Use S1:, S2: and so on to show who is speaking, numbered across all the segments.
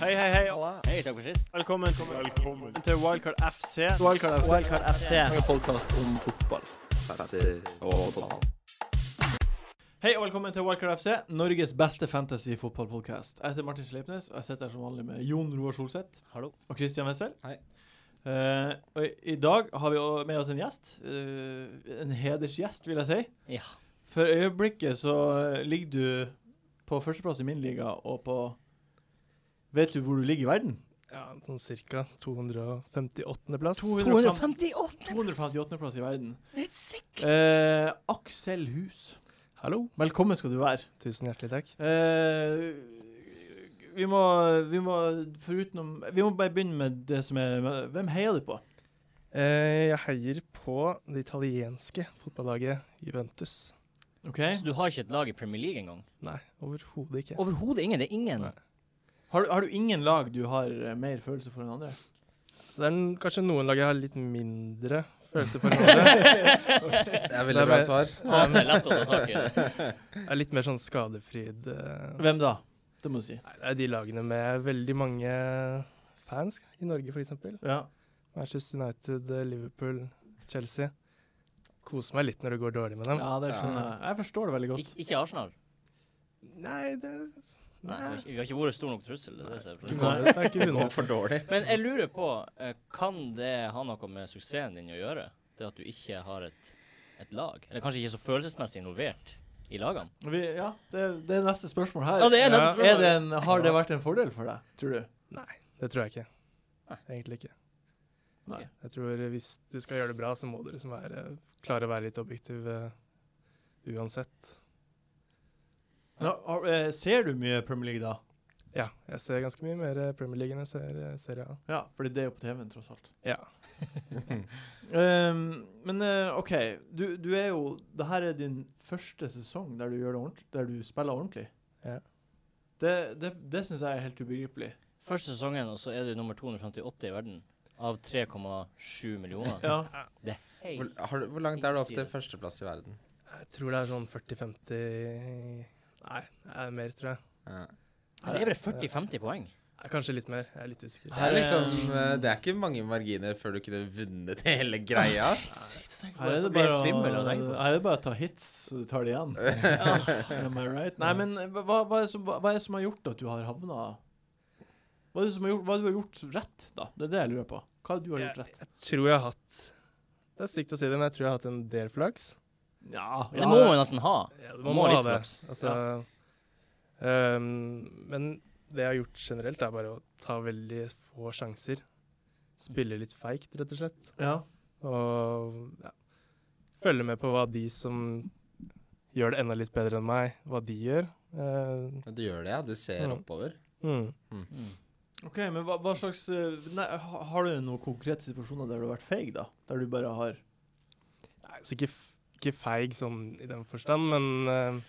S1: Hei, hei, hei.
S2: Hei, takk for sist.
S1: Velkommen, til Wildcard FC.
S3: Wildcard FC.
S2: Wildcard FC.
S3: En podkast om fotball.
S1: Hei og velkommen til Wildcard FC, Norges beste fantasy-fotballpodkast. Jeg heter Martin Sleipnes, og jeg sitter her som vanlig med Jon Roar Solseth
S2: Hallo.
S1: og Christian Wessel.
S4: Hei.
S1: Eh, og i- I dag har vi også med oss en gjest. eh, en hedersgjest, vil jeg si.
S2: Ja.
S1: For øyeblikket så eh, ligger du på førsteplass i min liga, og på Vet du hvor du ligger i verden?
S5: Ja, sånn cirka 258. plass.
S1: 258. plass i verden.
S2: Helt sick.
S1: Eh, Aksel Hus,
S5: Hallo.
S1: velkommen skal du være.
S5: Tusen hjertelig takk.
S1: Eh, vi må, vi må forutenom Vi må bare begynne med det som er Hvem heier du på?
S5: Eh, jeg heier på det italienske fotballaget Juventus.
S1: OK?
S2: Så du har ikke et lag i Premier League engang?
S5: Nei, overhodet ikke.
S2: Overhodet ingen. Det er ingen.
S5: Nei.
S1: Har, du- har du ingen lag du har eh, mer følelse for enn andre?
S5: Så det er n- kanskje noen lag jeg har litt mindre følelse for enn andre.
S4: Det er veldig bra svar.
S2: Ja, det er lett å ta tak i det.
S5: Jeg er litt mer sånn skadefryd. eh.
S1: Hvem da? Det må du si.
S5: Nei, det er de lagene med veldig mange fans i Norge, f.eks.
S1: Ja.
S5: Manchester United, eh, Liverpool, Chelsea. Koser meg litt når det går dårlig med dem.
S1: ja, det skjønner jeg. Jeg forstår det veldig
S2: Ik
S1: godt.
S2: ikke Arsenal.
S5: Nei, det
S2: Nei, vi har ikke- vi har ikke vært stor nok trussel. Det er det som er problemet.
S1: Nei.
S5: Det er ikke
S4: Det går
S5: vunnet.
S4: for dårlig.
S2: Men jeg lurer på, eh, kan det ha noe med suksessen din å gjøre? Det at du ikke har et, et lag? Eller kanskje ikke så følelsesmessig involvert i lagene?
S1: Vi, ja, det, det er neste spørsmål her.
S2: Ja, det er neste
S1: Ja.
S2: spørsmål.
S1: Er det en, har det vært en fordel for deg, tror du?
S5: Nei, det tror jeg ikke. Egentlig ikke.
S1: Nei.
S5: Jeg tror eh, hvis du skal gjøre det bra, så må du liksom være, klare å være litt objektiv eh, uansett.
S1: Nå, har, eh, ser du mye Premier League da?
S5: Ja, jeg ser ganske mye mer eh, Premier League enn jeg ser eh, Serie A.
S1: Ja, fordi det er jo på TV-en, tross alt.
S5: Ja.
S1: Ehm, men eh, OK, du, du er jo Det her er din første sesong der du gjør det ordentlig, der du spiller ordentlig.
S5: Ja.
S1: Det, det, det syns jeg er helt ubegripelig.
S2: Første sesongen, og så er du nummer 258 i verden. Av 3,7 millioner. Hei.
S4: Hvor, har, du- hvor langt er du opp til førsteplass i verden?
S5: Jeg tror det er sånn 40-50 Nei, det er mer, tror jeg.
S4: Ja.
S2: Men Det er bare 40-50 poeng.
S5: Nei, Kanskje litt mer. Jeg er litt usikker.
S4: Det er, liksom, eh, det er ikke mange marginer før du kunne vunnet hele greia. ass.
S2: Sykt å tenke
S1: Her er det bare å, her er det bare å ta hits, så du tar det igjen. Am I right? Nei, men eh, hva, hva, er det som, hva, hva er det som har gjort at du har havna Hva er det som har gjort, hva du har gjort rett, da? Det er det jeg lurer på. Hva du har gjort rett?
S5: Jeg tror jeg har hatt Det er stygt å si det, men jeg tror jeg har hatt en del flaks.
S1: Ja,
S2: Det må man nesten ha.
S5: Ja, du
S2: Man må ha litt flaks.
S5: Altså, ehm, men det jeg har gjort generelt, er bare å ta veldig få sjanser. Spille litt feigt, rett og slett.
S1: ja.
S5: Og ja, følge med på hva de som gjør det enda litt bedre enn meg, hva de gjør. Eh,
S4: Men Du gjør det, ja. Du ser
S5: Mm.
S4: oppover.
S5: mm.
S2: Mm.
S1: OK, men hva, hva slags eh, nei, ha- Har du noen konkrete situasjoner der du har vært feig, da? Der du bare har
S5: Nei, så ikke, f- ikke feig sånn i den forstand, men eh,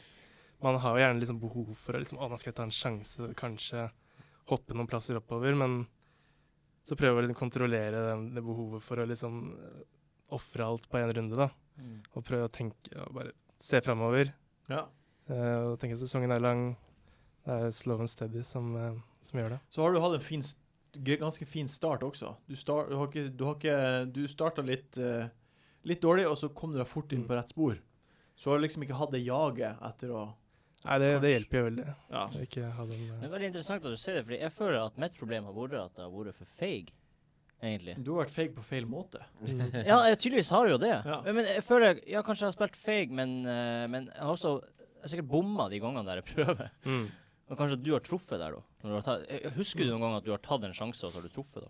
S5: man har jo gjerne liksom behov for å liksom, å, man skal ta en sjanse, kanskje hoppe noen plasser oppover, men så prøve å liksom kontrollere den, det behovet for å liksom eh, ofre alt på én runde, da.
S2: Mm.
S5: Og prøve å tenke og bare se framover. Eh,
S1: Ja.
S5: og tenke at sesongen er lang. Det er slow and steady som, eh, som gjør det.
S1: Så har du hatt en fin, st- g- ganske fin start også. Du, star, du, har, ikke, du, har, ikke, du starta litt, eh, litt dårlig, og så kom du deg fort inn
S5: Mm.
S1: på rett spor. Så har du liksom ikke hatt det jaget etter å
S5: Nei, det, det hjelper jo veldig.
S1: Ja.
S5: å Ikke ha den,
S2: Det
S5: eh,
S2: er veldig interessant at du sier det, fordi jeg føler at mitt problem har vært at jeg har vært for feig, egentlig.
S1: Du har vært feig på feil måte.
S5: mm.
S2: Ja, jeg tydeligvis har jeg jo det.
S1: Ja.
S2: Men jeg føler Ja, kanskje jeg har spilt feig, men, eh, men jeg har også jeg har sikkert bomma de gangene der jeg prøver.
S5: mm.
S2: Men kanskje du har truffet der, da. Når du har tatt, eh, husker du noen gang at du har tatt en sjanse, og så har du truffet, da?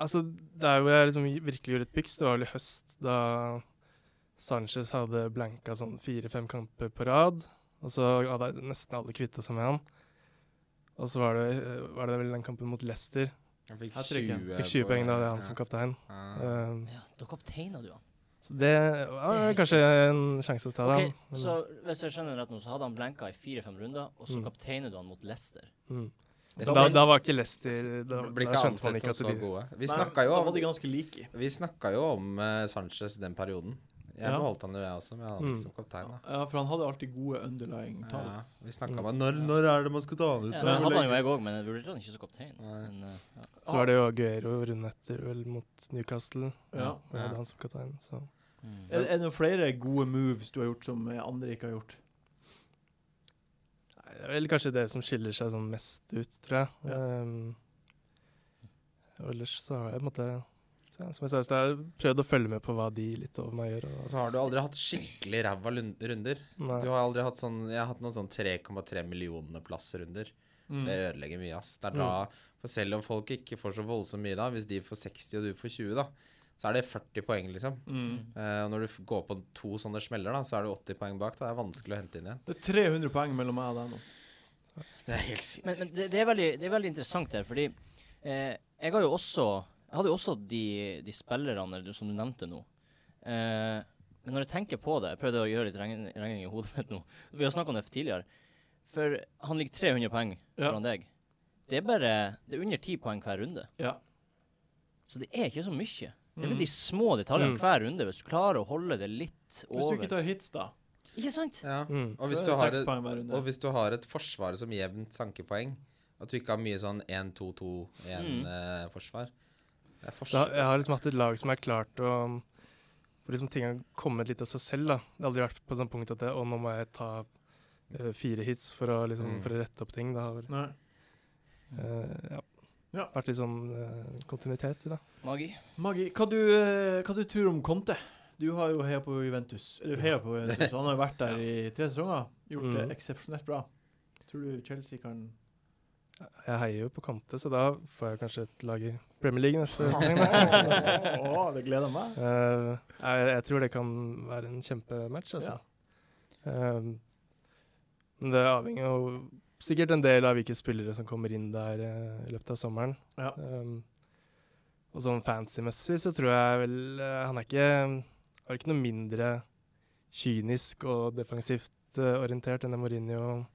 S5: Altså, der hvor jeg liksom virkelig gjorde et byks, det var vel i høst, da Sanchez hadde blanka sånn fire-fem kamper på rad. Og så hadde jeg nesten alle kvitta seg med han. Og så var det, eh, var det vel den kampen mot Leicester.
S4: Jeg fikk
S1: Hat trick, ja.
S4: 20,
S5: Fikk 20 poeng da, det er han
S4: Ja.
S5: som kaptein.
S4: Ja.
S5: Um,
S2: Ja, da kapteina du han.
S5: så det var
S2: helt
S5: kanskje en sjanse å ta
S2: Ok,
S5: det. han.
S2: så hvis jeg skjønner rett nå, så hadde han blenka i fire-fem runder, og så
S5: Mm.
S2: kapteiner du han mot Leicester.
S5: Men, mm.
S4: Det
S5: da, da var ikke Leicester Da,
S4: blir
S5: da
S4: ikke
S5: skjønte man
S4: ansett
S5: ikke
S4: som
S5: at
S4: så
S5: de
S4: gode. Vi
S1: Nei,
S4: snakka jo
S1: Da
S4: om,
S1: var de ganske like.
S4: vi snakket jo om eh, Sanchez den perioden Jeg
S1: Ja.
S4: beholdt han jo, jeg også, men jeg hadde
S5: Mm.
S4: ikke som kaptein. da.
S1: Ja, for han hadde alltid gode underlying tall.
S4: Ja, vi snakka
S5: Mm.
S4: om når, når er det man skal ta han ut?
S2: Ja, det
S4: da? Hvor
S2: hadde han
S4: lenge-
S2: jo jeg òg, men jeg vurderte han ikke som kaptein.
S4: Nei.
S2: Men, eh, ja.
S5: Så var det jo Aguero runden etter, vel, mot Newcastle.
S1: Ja.
S5: Da
S4: Ja.
S5: hadde han som kaptein, så
S2: Mm.
S1: Er, er det noen flere gode moves du har gjort som eh, andre ikke har gjort?
S5: Nei, det er vel kanskje det som skiller seg sånn mest ut, tror jeg.
S1: Ja.
S5: Ehm, og ellers så har jeg på en måte ja, Som jeg sa i stad, jeg har prøvd å følge med på hva de litt over meg gjør.
S4: Og
S5: Og, sånn,
S4: så har du aldri hatt skikkelig ræva lun- runder.
S5: nei,
S4: Du har aldri hatt sånn Jeg har hatt noen sånn 3,3 millioner plass-runder.
S1: Mm.
S4: Det ødelegger mye, ass. Det er da For selv om folk ikke får så voldsomt mye da, hvis de får 60 og du får 20, da, så er det 40 poeng, liksom.
S1: Mm.
S4: Eh, og når du f- går på to sånne smeller, da, så er du 80 poeng bak. Da. Det er vanskelig å hente inn igjen.
S1: Det er 300 poeng mellom meg og deg nå.
S4: Det er helt
S2: Men,
S4: sinnssykt.
S2: men det, det, er veldig, det er veldig interessant her, fordi eh, jeg har jo også Jeg hadde jo også de, de spillerne du- som du nevnte nå. Eh, men når jeg tenker på det Jeg prøvde å gjøre litt regn- regning i hodet mitt nå. Vi har snakka om det tidligere. For han ligger 300 poeng
S1: Ja.
S2: foran deg. Det er bare Det er under 10 poeng hver runde.
S1: Ja.
S2: Så det er ikke så mye. Det er
S1: Mhm.
S2: vel de små detaljene
S5: Mm.
S2: hver runde, hvis du klarer å holde det litt
S1: Hvis du
S2: over.
S1: ikke tar hits, da,
S2: Ikke sant?
S4: Ja.
S5: mm,
S4: Og hvis,
S1: så
S4: du
S1: er
S4: har
S1: det seks
S4: et,
S1: poeng hver runde.
S4: og hvis du har et forsvar som jevnt sankepoeng, at du ikke har mye sånn 1-2-2-1-forsvar
S2: Mm.
S4: eh, Det er
S5: da,
S4: forskjell.
S5: jeg har liksom hatt et lag som er klart å Hvor liksom ting har kommet litt av seg selv. da. Det har aldri vært på sånn punkt at jeg, å, nå må jeg ta eh, fire hits for å, liksom,
S4: Mm.
S5: for å rette opp ting. Det har
S1: Nei.
S5: eh, ja,
S1: Ja.
S5: vært litt sånn eh, kontinuitet i det.
S2: Magi.
S1: Magi, hva du, eh, hva du tror om Conte? Du har jo heia på Juventus. Eller heia på Juventus, og han har jo vært der i tre sesonger. Gjort det
S5: Mm.
S1: eksepsjonelt bra. Tror du Chelsea kan
S5: Jeg heier jo på Kante, så da får jeg kanskje et lag i Premier League neste gang. da.
S1: Å, det gleder meg.
S5: Eh, jeg, jeg tror det kan være en kjempematch, altså. Eh, men det avhenger jo sikkert en del av hvilke spillere som kommer inn der eh, i løpet av sommeren.
S1: Ja.
S5: Eh, og sånn fancy-messig så tror jeg vel eh, han er ikke har ikke noe mindre kynisk og defensivt eh, orientert enn det Mourinho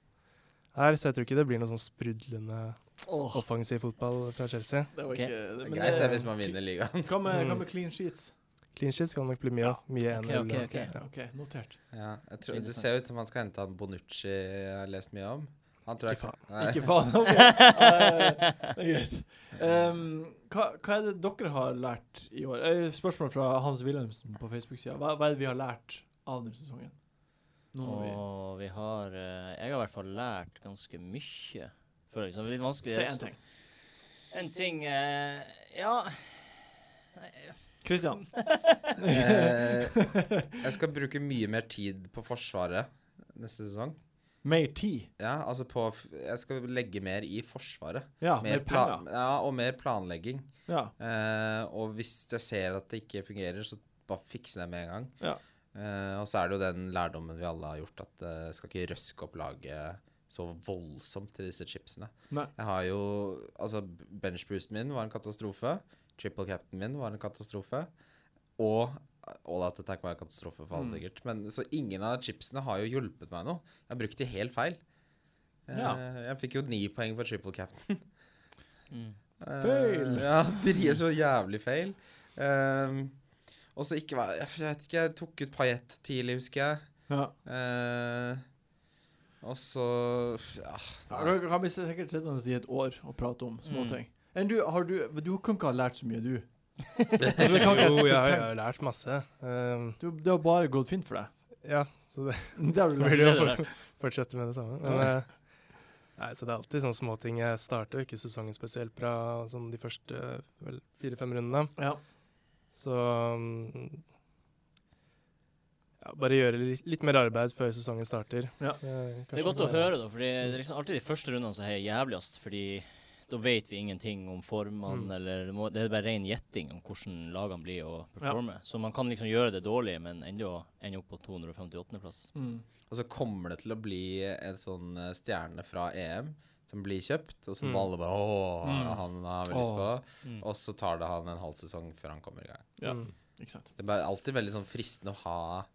S5: er, så jeg tror ikke det blir noe sånn sprudlende
S1: Åh,
S5: offensiv fotball fra Chelsea.
S1: det var
S2: Ok.
S1: ikke
S4: Det
S1: men
S4: er greit det hvis man vinner ligaen.
S1: Hva med, hva
S5: Mm.
S1: med clean sheets?
S5: Clean shit skal det nok bli mye av. Mye
S2: Ok,
S5: 1-0.
S2: ok, ok.
S5: Ja.
S1: OK, notert.
S4: Ja, jeg tror, det ser ut som han skal hente han Bonucci jeg har lest mye om. Han tror
S5: Ikke
S4: jeg
S5: faen.
S4: Nei.
S1: Ikke faen. ok. Eh, det er greit. Ehm, hva, hva er det dere har lært i år? Eh, Spørsmål fra Hans Wilhelmsen på Facebook-sida. Hva, hva er det vi har lært av denne sesongen? Nå må vi
S2: Og vi har eh, Jeg har i hvert fall lært ganske mye. Føler jeg. Så det er litt vanskelig.
S1: si en ting.
S2: En ting eh, Ja.
S1: Kristian.
S4: Eh, jeg skal bruke mye mer tid på Forsvaret neste sesong.
S1: Mer tid.
S4: Ja, altså på f- Jeg skal legge mer i Forsvaret.
S1: Ja, mer,
S4: Mer
S1: penger.
S4: plan, ja, og mer planlegging.
S1: Ja.
S4: Eh, og hvis jeg ser at det ikke fungerer, så bare fikse det med en gang.
S1: Ja.
S4: Eh, og så er det jo den lærdommen vi alle har gjort, at eh, skal ikke røske opp laget så voldsomt til disse chipsene.
S1: Nei.
S4: Jeg har jo Altså, benchboosten min var en katastrofe. Triple captain min var en katastrofe. Og eh, All Out Attack var en katastrofe for alle,
S1: Mm.
S4: sikkert. Men så ingen av chipsene har jo hjulpet meg noe. Jeg har brukt de helt feil. Eh,
S1: Ja.
S4: Jeg fikk jo ni poeng for triple captain.
S2: Mm.
S4: Eh,
S1: Feil.
S4: Ja, de er så jævlig feil. Ehm, og så ikke være Jeg vet ikke, jeg tok ut Paillette tidlig, husker jeg.
S1: ja.
S4: Eh, og så ja,
S1: Ja,
S4: nei.
S1: Dere kan bli sikkert sittende i et år og prate om småting. Enn Du, har du, du kan ikke ha lært så mye, du. Altså, det kan ikke-
S5: Jo, jeg har- jeg har lært masse. Um,
S1: du. Det har bare gått fint for deg.
S5: ja, så det
S1: Det har du
S5: da blir
S1: lært.
S5: det
S2: Det
S5: jo
S2: er
S5: for, fortsette med det samme. Men, eh, nei, så det er alltid sånne småting. Jeg starter jo ikke sesongen spesielt bra sånn de første vel, fire-fem rundene.
S1: Ja.
S5: Så um, ja, bare gjøre litt, litt mer arbeid før sesongen starter.
S1: Ja.
S5: Eh,
S2: Det er
S5: kanskje
S2: godt å
S5: bare-
S2: høre, da, for det er liksom alltid de første rundene som er jævligst. Fordi da vet vi ingenting om formene,
S5: Mm.
S2: eller det, må, det er bare ren gjetting om hvordan lagene blir å performe. Så man kan liksom gjøre det dårlig, men enda ende opp på 258.-plass.
S1: Mm.
S4: Og så kommer det til å bli en sånn eh, stjerne fra EM som blir kjøpt, og som
S5: Mm.
S4: alle bare Å,
S1: Mm.
S4: han har vi lyst på.
S2: Mm.
S4: Og så tar det han en halv sesong før han kommer i gang.
S1: Ja.
S5: Mm.
S1: Ikke sant.
S4: Det er bare alltid veldig sånn fristende å ha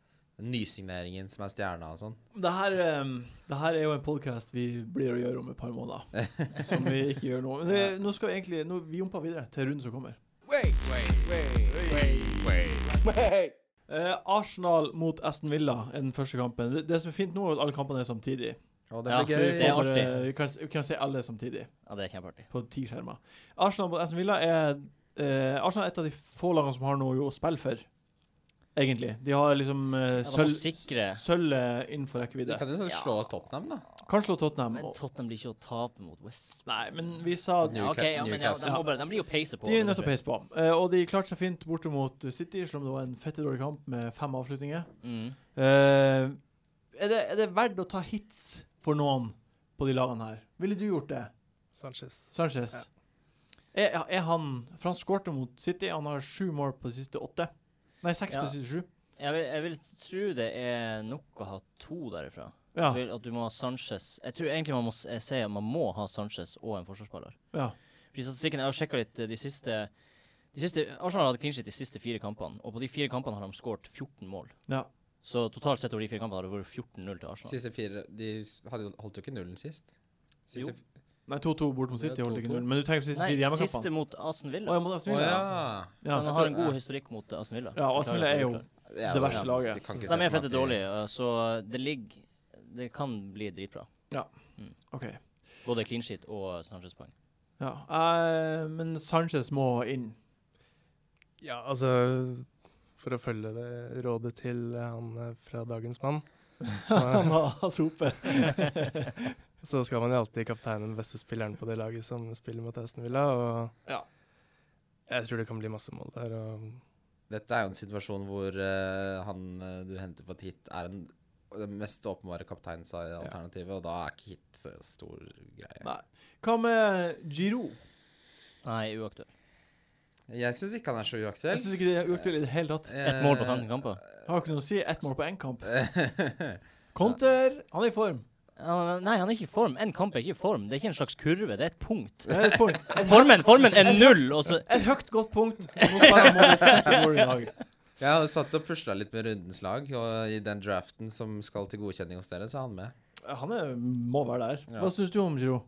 S4: nysigneringen som er stjerna og sånn.
S1: Det her, em, det her er jo en podkast vi blir å gjøre om et par måneder. Som vi ikke gjør nå. Men det, nå skal vi egentlig nå, Vi jumper videre til runden som kommer. Eh, Arsenal mot Aston Villa er den første kampen. Det, det som er fint nå, er at alle kampene er samtidig.
S4: Og det
S2: Ja,
S4: blir
S1: Så vi,
S2: det er
S4: gøy.
S1: får, bare-
S2: artig.
S1: vi, kan, s- vi kan se alle samtidig
S2: Ja, det er kjempeartig.
S1: på ti skjermer. Arsenal mot Aston Villa er eh, Arsenal er et av de få lagene som har noe å spille for, egentlig. De har liksom eh,
S2: Ja, de må
S1: sølv
S2: sikre.
S1: sølvet innenfor
S4: De
S1: rekkevidde.
S4: kan jo sånn
S2: Ja.
S4: slå oss Tottenham, da.
S1: Kan slå Tottenham.
S2: Men
S1: og-
S2: Tottenham blir ikke å tape mot West.
S1: Nei, men vi sa
S4: Newca-
S2: Ja, ok, ja, men ja, de,
S4: Newcastle.
S2: må bare, de blir jo peise på.
S1: De er nødt til å peise på. Eh, og de klarte seg fint borte mot City, selv om det var en fette dårlig kamp med fem avslutninger.
S2: Mm.
S1: Eh, er, det, er det verdt å ta hits for noen på de lagene her? Ville du gjort det,
S5: Sanchez.
S1: Sanchez? Er, er han For han skårte mot City. Han har sju mål på de siste åtte. Nei, seks på
S2: Ja.
S1: de siste sju.
S2: Jeg vil, jeg vil tro det er nok å ha to derifra.
S1: Ja.
S2: Du vil, at du må ha Sanchez Jeg tror egentlig man må s- eh, si at man må ha Sanchez og en forsvarsspiller.
S1: ja.
S2: Fordi statistikken, Jeg har sjekka litt eh, de siste, de siste Arsenal hadde clean sheet de siste fire kampene, og på de fire kampene har de skåret 14 mål.
S1: Ja.
S2: Så totalt sett over de fire kampene har det vært 14-0 til Arsenal.
S4: Siste fire De s- hadde, jo- holdt jo ikke nullen sist.
S2: Jo.
S4: Siste,
S1: Nei, 2-2 bort mot
S4: Det er
S1: City holdt ikke
S4: 2-2.
S1: null. Men du tenker på siste fire
S2: Nei, siste
S1: hjemmekampene?
S2: mot Aston
S1: Å,
S2: Villa.
S1: ja, mot
S4: Å
S1: Aston Villa. ja.
S4: ja.
S2: Så
S1: Ja.
S2: han har
S4: jeg
S2: en
S4: tror-
S2: god historikk mot eh, Aston Villa.
S1: Ja, og Aston
S2: Beklager
S1: Villa
S2: at jeg
S1: er jo
S2: avbryter.
S4: Ja,
S1: Det
S4: da-
S1: verste laget.
S4: de kan ikke
S2: De
S4: se
S2: er
S4: for
S2: fette
S4: meg at de-
S2: dårlige, eh, så det ligger Det kan bli dritbra.
S1: OK.
S2: Både clean sheet og Sanchez-poeng.
S1: Ja. Eh, men Sanchez må inn.
S5: Ja, altså For å følge det rådet til eh, han eh, fra Dagens Mann,
S1: Han har sope.
S5: så skal man jo alltid kapteine den beste spilleren på det laget som spiller mot Aston Villa, og
S1: Ja.
S5: jeg tror det kan bli masse mål der. og
S4: Dette er jo en situasjon hvor eh, han eh, du henter på et hit, er en, det mest åpenbare kapteinsalternativet, og da er ikke hit så stor greie.
S1: Nei. Hva med Giro?
S2: Nei, uaktuell.
S4: Jeg syns ikke han er så
S1: Jeg
S4: uaktuell. Eh,
S1: syns ikke det er uaktuelt i det hele tatt.
S2: Ett mål på 15 kamper.
S1: Har ikke noe å si. Ett mål på én kamp. Konter! Han er i form.
S2: Ja, nei, han er ikke i form. En kamp er ikke i form. Det er ikke en slags kurve, det er et punkt.
S1: Det er et, form.
S2: Formen, formen er null! Og så
S1: et høyt, godt punkt. Nå spiller han målet 30 mål i dag.
S4: Jeg har satt og pusla litt med rundens lag, og i den draften som skal til godkjenning hos dere, så er han med.
S1: Han er, må være der.
S4: Ja.
S1: Hva syns du om Giro?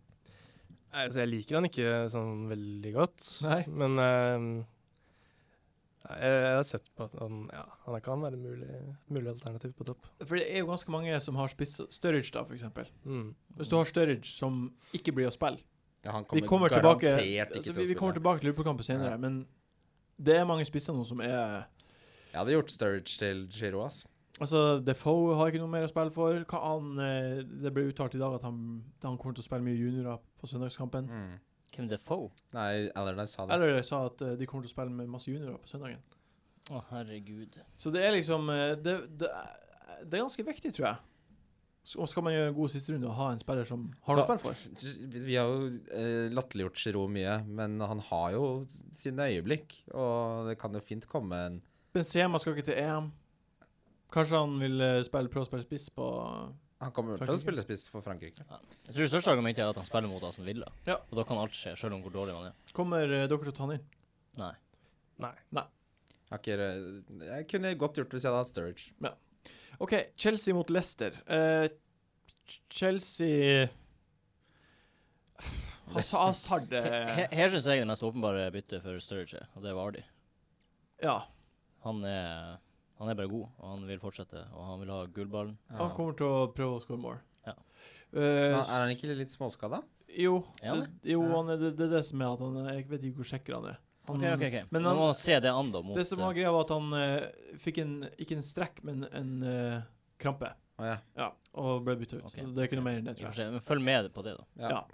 S5: Nei, altså jeg liker han ikke sånn veldig godt,
S1: Nei.
S5: men eh, jeg, jeg har sett på at han, ja, han kan være et mulig, mulig alternativ på topp.
S1: For det er jo ganske mange som har spiss Sturridge, da, for eksempel.
S5: Mm.
S1: Hvis du har Sturridge som ikke blir å spille
S4: Ja, han
S1: Vi kommer
S4: garantert
S1: tilbake
S4: ikke
S1: altså,
S4: til å
S1: vi, vi
S4: spille.
S1: kommer tilbake til Liverpool-kampen senere,
S4: Ja.
S1: men det er mange spisser nå som er
S4: Jeg hadde gjort Sturridge til Giro, ass.
S1: Altså, Defoe har ikke noe mer å spille for. Hva han, eh, det ble uttalt i dag at han, han kommer til å spille mye juniorer på søndagskampen.
S4: Mm.
S2: Kim Defoe.
S4: Nei, Allardyce sa det.
S1: Eller jeg sa at eh, de kommer til å spille med masse juniorer på søndagen.
S2: Å, herregud.
S1: Så det er liksom eh, Det, det, er- det er ganske viktig, tror jeg. S- Og skal man gjøre en god sisterunde og ha en spiller som har noe å
S4: Så-
S1: spille for?
S4: Vi vi har jo eh, latterliggjort Giro mye, men han har jo sine øyeblikk, og det kan jo fint komme en
S1: Benzema skal ikke til EM. Kanskje han vil eh, spille, prøve å spille spiss på
S4: Han kommer til å
S1: Frankrike.
S4: spille spiss for Frankrike.
S2: Jeg tror det største argumentet er at han spiller mot Aston Villa.
S1: Ja.
S2: Og da kan alt skje, selv om hvor dårlig han er.
S1: Kommer eh, dere til å ta han inn?
S2: Nei.
S5: Nei.
S4: Jeg, har ikke, eh, jeg kunne godt gjort det hvis jeg hadde hatt Sturridge.
S1: OK, Chelsea mot Leicester. Eh, Ch- Chelsea Hassa- Hazard
S2: He-
S1: eh,
S2: he- Her syns jeg det mest åpenbare byttet for Sturridge, er, og det var Ardi.
S1: Ja.
S2: Han er, han er bare god, og han vil fortsette, og han vil ha gullballen.
S1: Han
S4: Ja.
S1: kommer til å prøve å score mål.
S2: Ja.
S1: Eh,
S4: Men Er han ikke litt småskada?
S1: jo,
S2: Er han
S1: det, jo han er, det, det er det som er at han er- Jeg vet ikke hvor sikker han er. Han,
S2: OK, OK. ok.
S1: Men
S2: Man
S1: han-
S2: Mm. må se det an, da. Mot,
S1: Det som var
S2: eh,
S1: greia, var at han eh, fikk en Ikke en strekk, men en eh, krampe.
S4: Å ja.
S1: Ja, og ble bytta ut.
S2: Ok.
S1: Så Det er ikke noe mer enn det,
S2: i
S1: tror
S2: og for
S1: jeg.
S2: seg, men følg med på det, da.
S4: ja.
S1: Ja.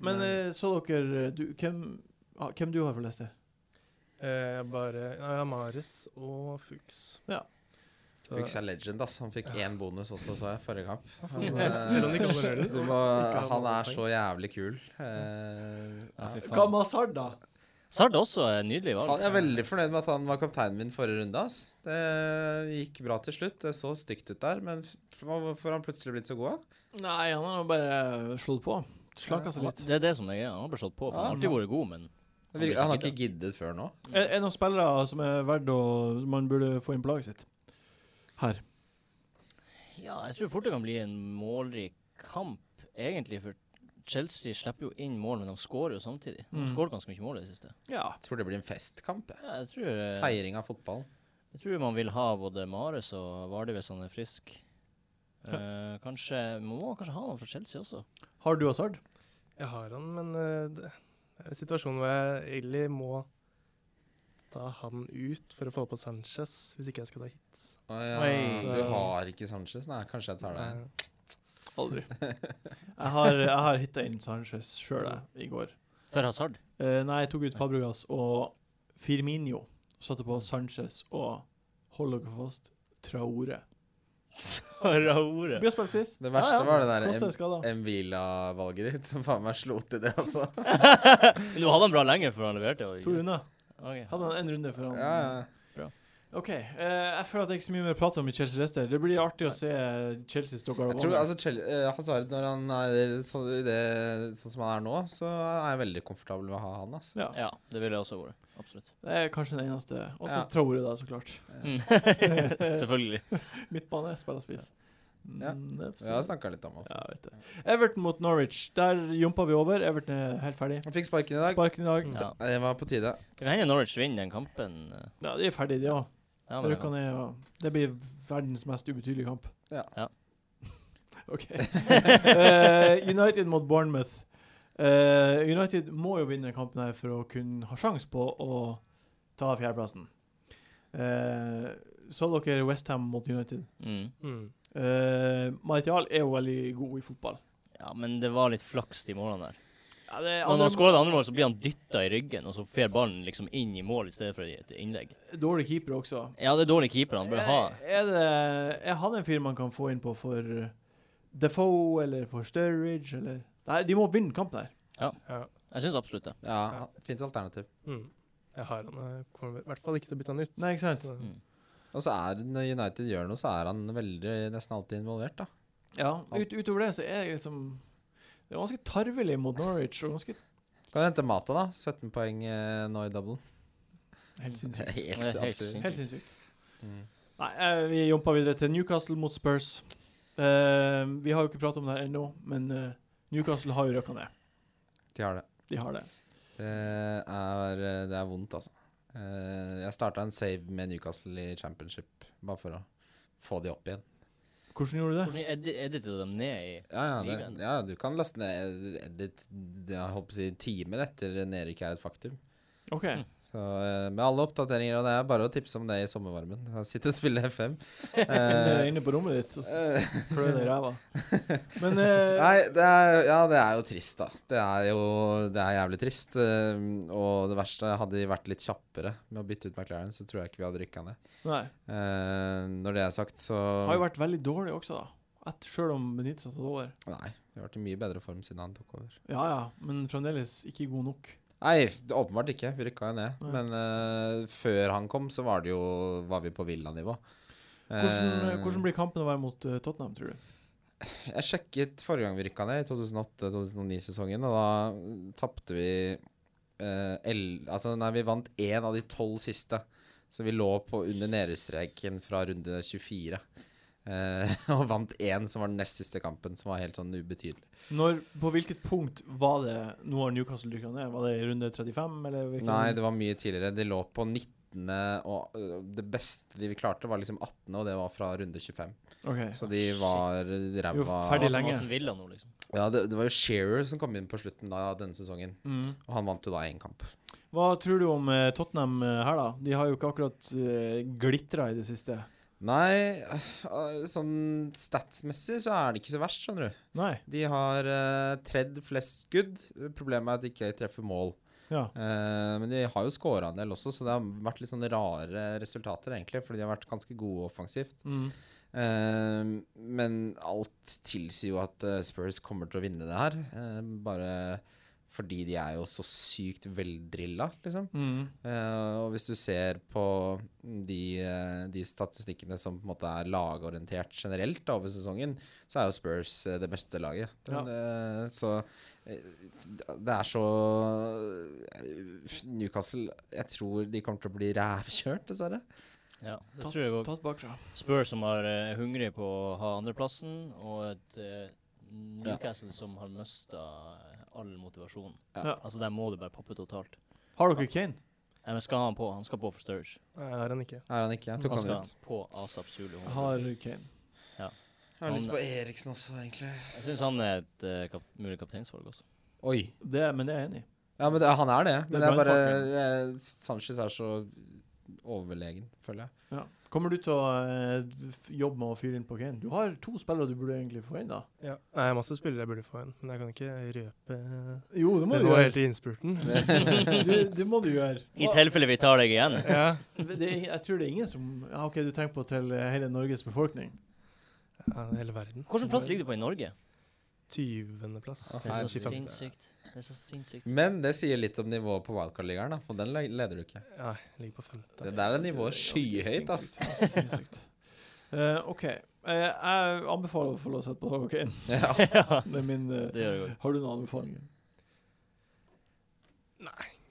S1: Men eh, så dere eh, du, hvem, ah, hvem du har for Leicester?
S5: Eh, bare nei, Amares og Fuchs.
S1: Ja.
S5: Så-
S4: Fuchs er legend, ass. Han fikk én bonus også, så jeg, forrige kamp. Han,
S5: Yes,
S4: eh,
S5: Selv om de kaller det
S4: du
S5: null.
S4: må,
S5: han
S4: han
S5: noe
S4: er så jævlig kul. Eh,
S2: Ja,
S4: ja.
S2: fy faen.
S1: Gamma Sard, da!
S2: Sard også er nydelig valg. Eh,
S4: Han jeg er veldig fornøyd med at han var kapteinen min forrige runde. ass. Det gikk bra til slutt. Det så stygt ut der, men f- hvorfor har han plutselig blitt så god? da?
S1: Nei, han har nå bare slått på. Slanka seg litt.
S2: Det er det som er greia. Han har blitt slått på. For han har alltid vært god, men
S4: Det virker- Han har ikke giddet før nå.
S1: Er, er det noen spillere som er verdt å som Man burde få inn på laget sitt? Her.
S2: Ja, jeg tror fort det kan bli en målrik kamp, egentlig. For Chelsea slipper jo inn mål, men de skårer jo samtidig. De
S1: Mm.
S2: skårer ganske mye mål i det siste.
S1: Ja.
S4: Jeg tror det blir en festkamp. jeg.
S2: Ja, jeg tror eh,
S4: Feiring av fotballen.
S2: Jeg tror man vil ha både Mares og Vardø hvis han er frisk. Eh, kanskje, Man må kanskje ha noen for Chelsea også.
S1: Har du Hazard?
S5: Jeg har han, men eh, det det er en situasjon hvor jeg egentlig må ta han ut for å få på Sanchez, hvis ikke jeg skal ta hit.
S4: Å ja,
S2: Oi.
S4: du har ikke Sanchez? Nei, kanskje jeg tar det.
S5: Eh,
S1: Aldri. jeg har, jeg har hitta inn Sanchez sjøl, jeg, i går.
S2: For Hazard.
S1: Eh, nei, jeg tok ut Fabregas og Firminio. Satte på Sanchez og hold dere fast Traore.
S2: Raore.
S1: Blir spilt pris.
S4: Det verste var det der
S1: Kosta
S4: M-
S1: en skade.
S4: Mvila-valget ditt, som faen meg slo til det, altså.
S2: Nå hadde han bra lenge før han leverte. og-
S1: To runder.
S2: Ok.
S1: Hadde han en runde før han
S4: Ja, ja.
S1: OK. eh, jeg føler at det er ikke så mye mer å prate om i Chelsea Leicester. Det blir artig å se Chelsea stå
S4: Jeg tror
S1: garabane.
S4: altså Chel eh, Hazard, når han er så, i det, sånn som han er nå, så er jeg veldig komfortabel med å ha han, altså.
S1: Ja.
S2: Ja, det ville jeg også vært. Absolutt.
S1: Det er kanskje den eneste. Og så
S4: Ja.
S1: Traore, da, så klart.
S2: Mm. Selvfølgelig.
S1: Midtbane, spiller spiss. Mm,
S4: Ja.
S1: det får
S4: Jeg har
S1: se.
S4: snakka litt om han.
S1: Ja, jeg vet det. Everton mot Norwich. Der jumpa vi over. Everton er helt ferdig.
S4: Han fikk sparken i dag.
S1: Sparken i dag.
S2: Ja.
S4: Det var på tide.
S2: Det kan hende Norwich vinner den kampen. eh,
S1: Ja, de er ferdige, de òg.
S2: Ja, men-
S1: Røkka ned. Og det blir verdens mest ubetydelige kamp.
S4: Ja.
S2: Ja.
S1: OK. Eh, United mot Bournemouth. Eh, United må jo vinne kampen her for å kunne ha sjanse på å ta fjerdeplassen. Eh, så dere Westham mot United.
S2: Mm.
S5: mm.
S1: Eh, Martial er jo veldig god i fotball.
S2: Ja, men det var litt flaks de målene der.
S1: Ja, det er
S2: Og når han
S1: andre,
S2: skårer det andre målet, så blir han dytta i ryggen, og så fer ballen liksom inn i mål i stedet for i et innlegg.
S1: dårlig keeper også.
S2: Ja, det er dårlig keeper han bør ha.
S1: Eh, Er det Er han en fyr man kan få inn på for uh, Defoe eller for Sturridge eller Nei, de må vinne kampen her.
S5: ja.
S2: Jeg syns absolutt det.
S4: Ja, fint alternativ.
S5: Mm. Jeg har han. Jeg kommer i hvert fall ikke til å bytte han ut.
S1: Nei, ikke sant?
S5: Så,
S2: Mm.
S4: Og så er når United gjør noe, så er han veldig, nesten alltid involvert, da.
S1: Ja, ut, utover det så er jeg liksom Det er ganske tarvelig mot Norwich og ganske
S4: Kan du hente Mata, da? 17 poeng eh, nå i doublen.
S1: Helt sinnssykt.
S2: Det er
S4: Helt
S2: helt
S4: absurd.
S1: Helt sinnssykt.
S4: Mm.
S1: Nei, eh, vi jumpa videre til Newcastle mot Spurs. Eh, vi har jo ikke pratet om det her ennå, men eh, Newcastle har jo røkka ned.
S4: De har det.
S1: De har det.
S4: Det er, det er vondt, altså. Eh, Jeg starta en save med Newcastle i championship, bare for å få de opp igjen.
S1: Hvordan gjorde du det?
S2: Hvordan edi- editet dem ned i
S4: Ja, ja,
S2: Ligaen.
S4: det, ja du kan laste ned Edit det- jeg holdt på å si, timen etter nedrykk er et faktum.
S1: OK.
S4: Så eh, Med alle oppdateringer, og det er bare å tipse om det i sommervarmen. Sitte og spille FM. Eh,
S1: er inne på rommet ditt og
S4: eh,
S1: klør deg i ræva. Men eh,
S4: Nei, det er, ja, det er jo trist, da. Det er jo det er jævlig trist. eh, Og det verste, hadde de vært litt kjappere med å bytte ut McLaren, så tror jeg ikke vi hadde rykka ned.
S1: nei.
S4: Eh, Når det er sagt, så
S1: Har jo vært veldig dårlig også, da. At selv om Benitez har tatt over.
S4: Nei, vi har vært i mye bedre form siden han tok over.
S1: Ja ja, men fremdeles ikke god nok.
S4: Nei, det- åpenbart ikke. Vi rykka jo ned.
S1: Nei.
S4: Men eh, før han kom, så var, det jo, var vi på villanivå.
S1: Hvordan,
S4: Eh,
S1: hvordan blir kampen å være mot eh, Tottenham, tror du?
S4: Jeg sjekket forrige gang vi rykka ned, i 2008-2009-sesongen, og da mm, tapte vi eh, el- Altså, nei, vi vant én av de tolv siste. Så vi lå på under nederstreken fra runde 24. Eh, og vant én, som var den nest siste kampen, som var helt sånn ubetydelig.
S1: Når, på hvilket punkt var det nå har Newcastle dykka ned? Var det i runde 35, eller? hvilken-
S4: Nei, det var mye tidligere. De lå på 19., og eh, det beste de klarte, var liksom 18., og det var fra runde 25.
S1: Ok.
S4: Så de var
S1: Jo,
S4: ræva
S1: ferdig
S2: Aston-
S1: lenge.
S2: Aston Villa nå, liksom.
S4: Ja, det, det var jo Shearer som kom inn på slutten da, denne sesongen.
S1: Mm.
S4: Og han vant jo da én kamp.
S1: Hva tror du om eh, Tottenham eh, her, da? De har jo ikke akkurat uh, glitra i det siste.
S4: Nei, øh, sånn statsmessig så er det ikke så verst, skjønner du.
S1: Nei.
S4: De har eh, tredd flest skudd. Problemet er at de ikke treffer mål.
S1: Ja.
S4: Eh, men de har jo scora en del også, så det har vært litt sånn rare resultater, egentlig. Fordi de har vært ganske gode offensivt.
S1: Mm.
S4: Eh, men alt tilsier jo at eh, Spurs kommer til å vinne det her. eh, bare fordi de er jo så sykt veldrilla, liksom.
S1: Mm.
S4: Eh, og hvis du ser på de, eh, de statistikkene som på en måte er lagorientert generelt da, over sesongen, så er jo Spurs eh, det beste laget.
S1: Ja.
S4: Eh, så eh, det er så Newcastle Jeg tror de kommer til å bli rævkjørt, dessverre.
S2: Ja, det tror jeg òg.
S1: Tatt bakfra.
S2: Spurs som er eh, hungrig på å ha andreplassen, og et eh, Newcastle som har mista all motivasjon.
S4: Ja.
S1: Ja.
S2: Altså, der må du bare poppe totalt.
S1: Har dere Kane?
S2: Nei, men skal han på? Han skal på for Sturridge.
S1: Mm.
S5: Nei, det har han ikke.
S4: Er han ikke? Jeg tok
S2: Han
S4: han
S2: skal
S4: rett.
S2: på ASAP Zulu.
S1: Jeg har Kane.
S4: Jeg har
S2: Han-
S4: lyst på Eriksen også, egentlig.
S2: Jeg syns han er et eh, kap mulig kapteinsvalg også.
S4: Oi.
S1: Det, men det er jeg enig i.
S4: Ja, men det, han er det. Men
S1: Det
S4: det
S1: er
S4: er bare
S1: brandtakeren.
S4: eh, Sanchez er så overlegen, føler jeg.
S1: Ja. Kommer du til å eh, f- jobbe med å fyre inn på Kane? Du har to spillere du burde egentlig få inn, da.
S5: Ja. Nei, jeg har masse spillere jeg burde få inn, men jeg kan ikke røpe
S1: Jo, det må
S5: Det
S1: du
S5: var
S1: gjøre.
S5: helt i innspurten.
S1: Du, det må du gjøre.
S2: I tilfelle vi tar deg igjen.
S5: Ja.
S1: Det, er- jeg tror det er ingen som ja, OK, du tenker på til eh, hele Norges befolkning.
S5: ja, hele verden.
S2: Hvilken plass ligger du på i Norge?
S5: 20. plass.
S4: Ja,
S2: Det er så
S4: herregud.
S2: sinnssykt. Det er så sinnssykt.
S4: Men det sier litt om nivået på wildcard-ligaen, da, for den le- leder du ikke.
S5: Ja, jeg ligger på femte.
S4: Det der er nivået
S1: ganske
S4: skyhøyt, ass.
S1: Sinnssykt. Eh, OK. Eh, jeg anbefaler å få lov til å sette på Kane.
S4: Ja.
S2: ja,
S1: Det er min eh,
S2: det gjør jeg òg.
S1: Har du noen anbefalinger?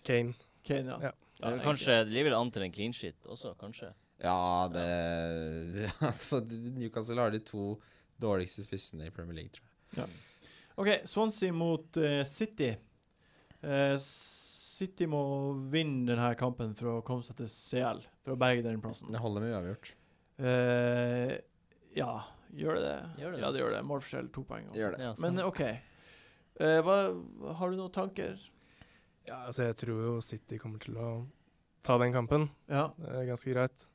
S5: Kane.
S1: Kane, ja.
S5: Ja.
S2: Kanskje det ligger vel an til en clean shit også, kanskje.
S4: Ja, det Altså, Newcastle har de to dårligste spissene i Premier League, tror jeg.
S1: OK, Swansea mot eh, City. Eh, City må vinne denne kampen for å komme seg til CL, for å berge den plassen.
S4: Det holder med uavgjort.
S1: Eh, ja, gjør det det?
S2: Gjør det det?
S1: Ja, det gjør det. Målforskjell to poeng. altså.
S4: Gjør det.
S2: Ja,
S1: Men
S2: sant.
S1: OK. Eh, hva, har du noen tanker?
S5: Ja, altså, jeg tror jo City kommer til å ta den kampen.
S1: Ja.
S5: Det er ganske greit.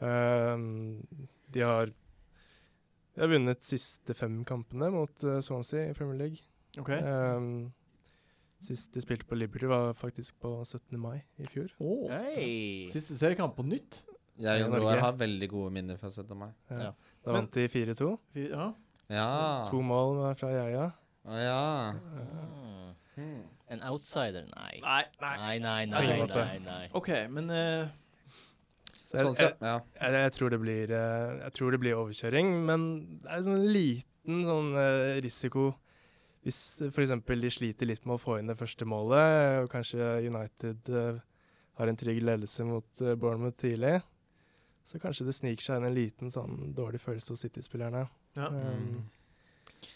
S5: Ehm, de har De har vunnet siste fem kampene mot eh, Swansea i Premier League.
S1: OK.
S5: Ehm, sist de spilte på Liberty, var faktisk på 17. mai i fjor.
S1: Åh,
S2: Hei!
S1: Siste seriekamp på nytt.
S4: Jeg og
S5: Norge.
S4: Roar har veldig gode minner fra 17. mai.
S5: Ja.
S2: Ja.
S5: Eh, Da vant de 4-2.
S1: Fy- Ja.
S4: Ja.
S5: To mål med- fra Yaya.
S4: Å, ja.
S2: Ah.
S4: Hmm.
S2: En outsider? Nei.
S1: Nei.
S2: Nei, nei,
S5: På
S2: nei.
S5: ingen måte.
S2: nei, nei.
S1: OK, men eh,
S5: Så jeg,
S4: Sånn,
S5: jeg,
S4: så, ja.
S5: jeg, jeg, tror det blir, eh, jeg tror det blir overkjøring, men det er sånn en liten sånn eh, risiko hvis f.eks. de sliter litt med å få inn det første målet, og kanskje United eh, har en trygg ledelse mot eh, Bournemouth tidlig, så kanskje det sniker seg inn en liten sånn dårlig følelse hos City-spillerne.
S1: Ja.
S5: Um,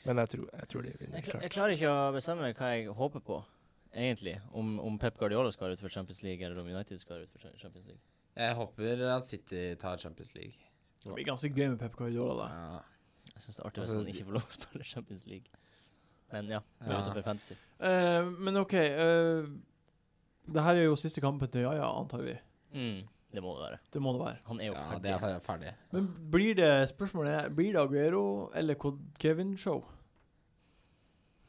S5: men jeg tror, jeg tror de vinner.
S2: Jeg, kla- jeg
S5: klart.
S2: klarer ikke å bestemme hva jeg håper på, egentlig. Om, om Pep Guardiola skal ut for Champions League, eller om United skal ut for Cha- Champions League.
S4: Jeg håper at City tar Champions League.
S1: det blir ganske gøy med Pep Guardiola, da.
S4: Ja.
S2: Jeg syns det er artig
S4: Altså,
S2: hvis han
S4: de-
S2: ikke får lov å spille Champions League. Men ja, det er
S4: Ja.
S2: utenfor fantasy.
S1: Eh, men OK. eh, det her er jo siste kampen til Jaja, antar vi.
S2: Mm, det må det være.
S1: Det må det være.
S2: Han er jo
S4: ja, det
S2: ferdig.
S4: er ferdig.
S1: Men blir det spørsmålet er, Blir det Aguero eller Ko- Kevin Show?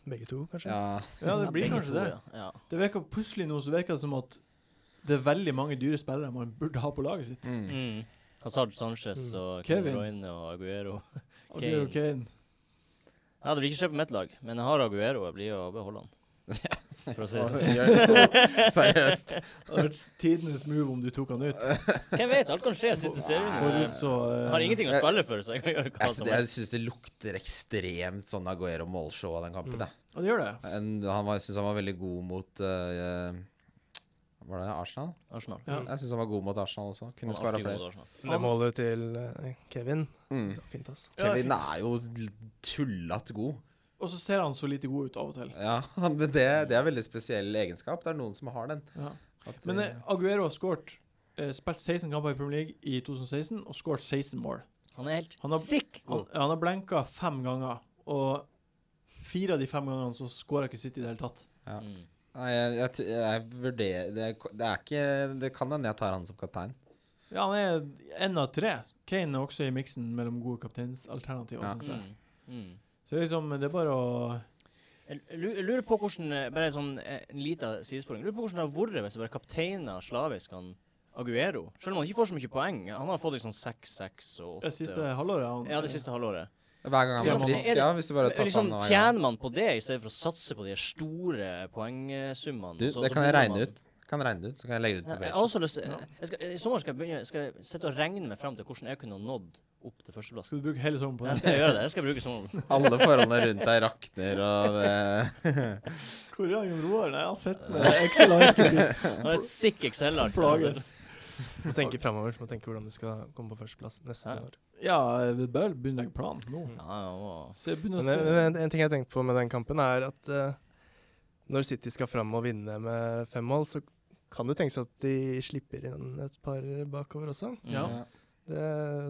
S5: Begge to, kanskje.
S4: Ja.
S1: Ja, det blir
S2: Begge
S1: kanskje
S2: to,
S1: det.
S2: Ja. Ja.
S1: Det virker Plutselig nå så virker det som at det er veldig mange dyre spillere man burde ha på laget sitt.
S4: Mm.
S2: Mm. Hazard Sanchez
S5: Mm.
S2: og
S1: Kevin.
S2: Kevin Royne og Aguero.
S1: Aguero Kane.
S2: Ja, det blir ikke skje på mitt lag, men jeg har Aguero. Jeg blir å beholde han. For å si det sånn.
S4: Seriøst.
S1: Det hadde vært tidenes move om du tok han ut.
S2: Hvem vet? Alt kan skje siste
S1: Forut
S2: serien.
S1: så
S2: Jeg
S1: eh,
S2: har ingenting å spille for, så jeg kan gjøre hva
S4: Jeg,
S2: som
S4: jeg
S2: helst.
S4: syns det lukter ekstremt sånn Aguero Målshow av den kampen.
S5: Mm.
S4: da.
S1: Ja, det gjør det.
S4: En, han var, jeg synes han var veldig god mot eh, Var det Arsenal?
S2: Arsenal.
S1: Ja.
S4: Jeg syns han var god mot Arsenal også.
S2: Han
S4: Kunne
S2: er
S4: skåra
S2: alltid god
S4: flere.
S2: mot Arsenal.
S5: Det målet til eh, Kevin.
S4: Mm.
S5: Det var fint, ass.
S1: Ja,
S4: Kevin
S1: fint.
S4: er jo l- tullete god.
S1: Og så ser han så lite god ut av og til.
S4: Ja, men det, det er en veldig spesiell egenskap. Det er noen som har den.
S1: Ja.
S4: At,
S1: Men
S4: eh,
S1: eh, Aguero har skåret eh, Spilt 16 kamper i Premier League i 2016 og skåret 16 mål.
S2: Han er helt
S1: Han har-
S2: sick
S1: Han,
S2: god.
S1: han har blenka fem ganger, og fire av de fem gangene så skåra ikke City i det hele tatt.
S4: ja.
S2: Mm.
S4: Nei, jeg, jeg, t- jeg vurderer det, er- det er ikke Det kan hende jeg tar han som kaptein.
S1: Ja, han er en av tre. Kane er også i miksen mellom gode kapteinsalternativer.
S4: Ja.
S1: synes jeg.
S2: Mm. Mm.
S1: Så det er liksom, det er bare å
S2: Jeg lu- jeg lurer på hvordan eh, Bare sånn, eh, en liten sidesporing. Jeg Lurer på hvordan det hadde vært hvis jeg bare kapteina slavisk han Aguero. Selv om han ikke får så mye poeng. Han har fått liksom seks, seks og åtte.
S1: Det siste halvåret han,
S2: og- Ja, det siste halvåret.
S4: Hver gang han
S2: Ja,
S4: var
S2: men
S4: frisk,
S2: er det-
S4: sånn, ja. Hvis du bare tar
S2: Liksom,
S4: han hver gang.
S2: tjener man på det i stedet for å satse på de store poengsummene?
S4: Du,
S2: så-
S4: det
S2: så
S4: kan jeg
S2: burde
S4: regne
S2: man-
S4: ut. Kan jeg regne det ut, så kan jeg legge det ut
S2: Ja,
S4: på
S2: jeg
S4: page.
S2: har også lyst
S1: Ja.
S2: jeg skal, I sommer skal jeg begynne Skal jeg sitte og regne meg fram til hvordan jeg kunne ha nådd opp til førsteplass.
S1: Skal du bruke hele sommeren på det?
S2: Jeg skal gjøre det. Jeg skal bruke sånn- sommeren.
S4: Alle forholdene rundt deg rakner, og det
S1: Hvor er Jon Roar? Nei, han sitter med Excel-arket sitt
S2: Han er et sick Excel-ark.
S1: plages.
S5: Du må tenke framover. Du må tenke hvordan du skal komme på førsteplass neste
S2: Ja.
S5: år.
S1: Ja, vi bør begynne å legge plan nå.
S2: Ja, ja, og-
S1: Se, begynne å
S5: Men
S1: se.
S5: en, en- en ting jeg tenkte på med den kampen, er at eh, når City skal fram og vinne med fem mål, så kan det tenkes at de slipper inn et par bakover også.
S1: Ja.
S2: Mm,
S5: Det,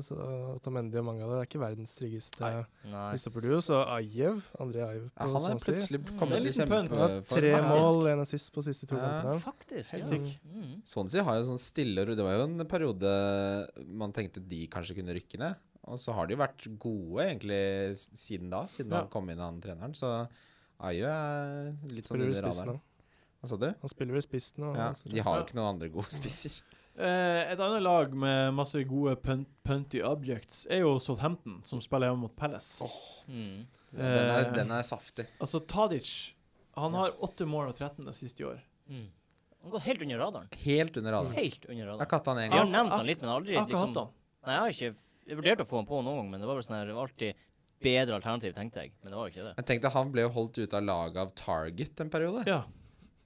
S5: så Otamendi og mange av det er ikke verdens tryggeste
S1: Nei.
S2: Nei.
S5: listeporduo. Så Ajev, André Ajev
S4: Ja,
S5: på
S4: han er
S5: Swansea.
S4: plutselig
S2: Det er
S4: kommet
S1: Mm.
S4: i
S1: en liten punt.
S5: Han har
S4: kjempeform.
S5: tre
S4: faktisk.
S5: mål, en assist på siste to
S4: Ja.
S5: kampene.
S2: Faktisk.
S1: Helt
S2: ja.
S1: sikker.
S2: Mm.
S4: Swansea har jo sånn stille og ro- Det var jo en periode man tenkte de kanskje kunne rykke ned. Og så har de jo vært gode egentlig s- siden da, siden
S1: Ja.
S4: han kom inn, han treneren. Så Ayo er litt sånn
S5: Spiller
S4: under
S5: vel spiss nå.
S4: radaren. Hva sa du?
S5: Han spiller vel spiss nå.
S4: Ja,
S5: altså.
S4: de har jo ikke noen andre gode spisser.
S1: Eh, et annet lag med masse gode pun punty objects er jo Southampton, som spiller hjemme mot Palace.
S2: Mm.
S4: Den er,
S1: Eh,
S4: den er saftig.
S1: Altså, Tadic Han har 8 mål og 13 assist i år.
S2: Mm. Han har gått helt under radaren.
S4: Helt under radaren.
S2: Helt under
S4: Jeg har
S2: radaren.
S4: ikke hatt han én
S2: Jeg har
S4: gang.
S2: nevnt han litt, men aldri
S1: Jeg har ikke
S2: liksom
S1: hatt han.
S2: Nei, jeg har ikke Jeg vurderte å få han på noen gang, men det var bare sånn her det var alltid bedre alternativ, tenkte jeg. Men det var jo ikke det.
S4: Jeg tenkte Han ble jo holdt ute av laget av Target en periode.
S1: Ja.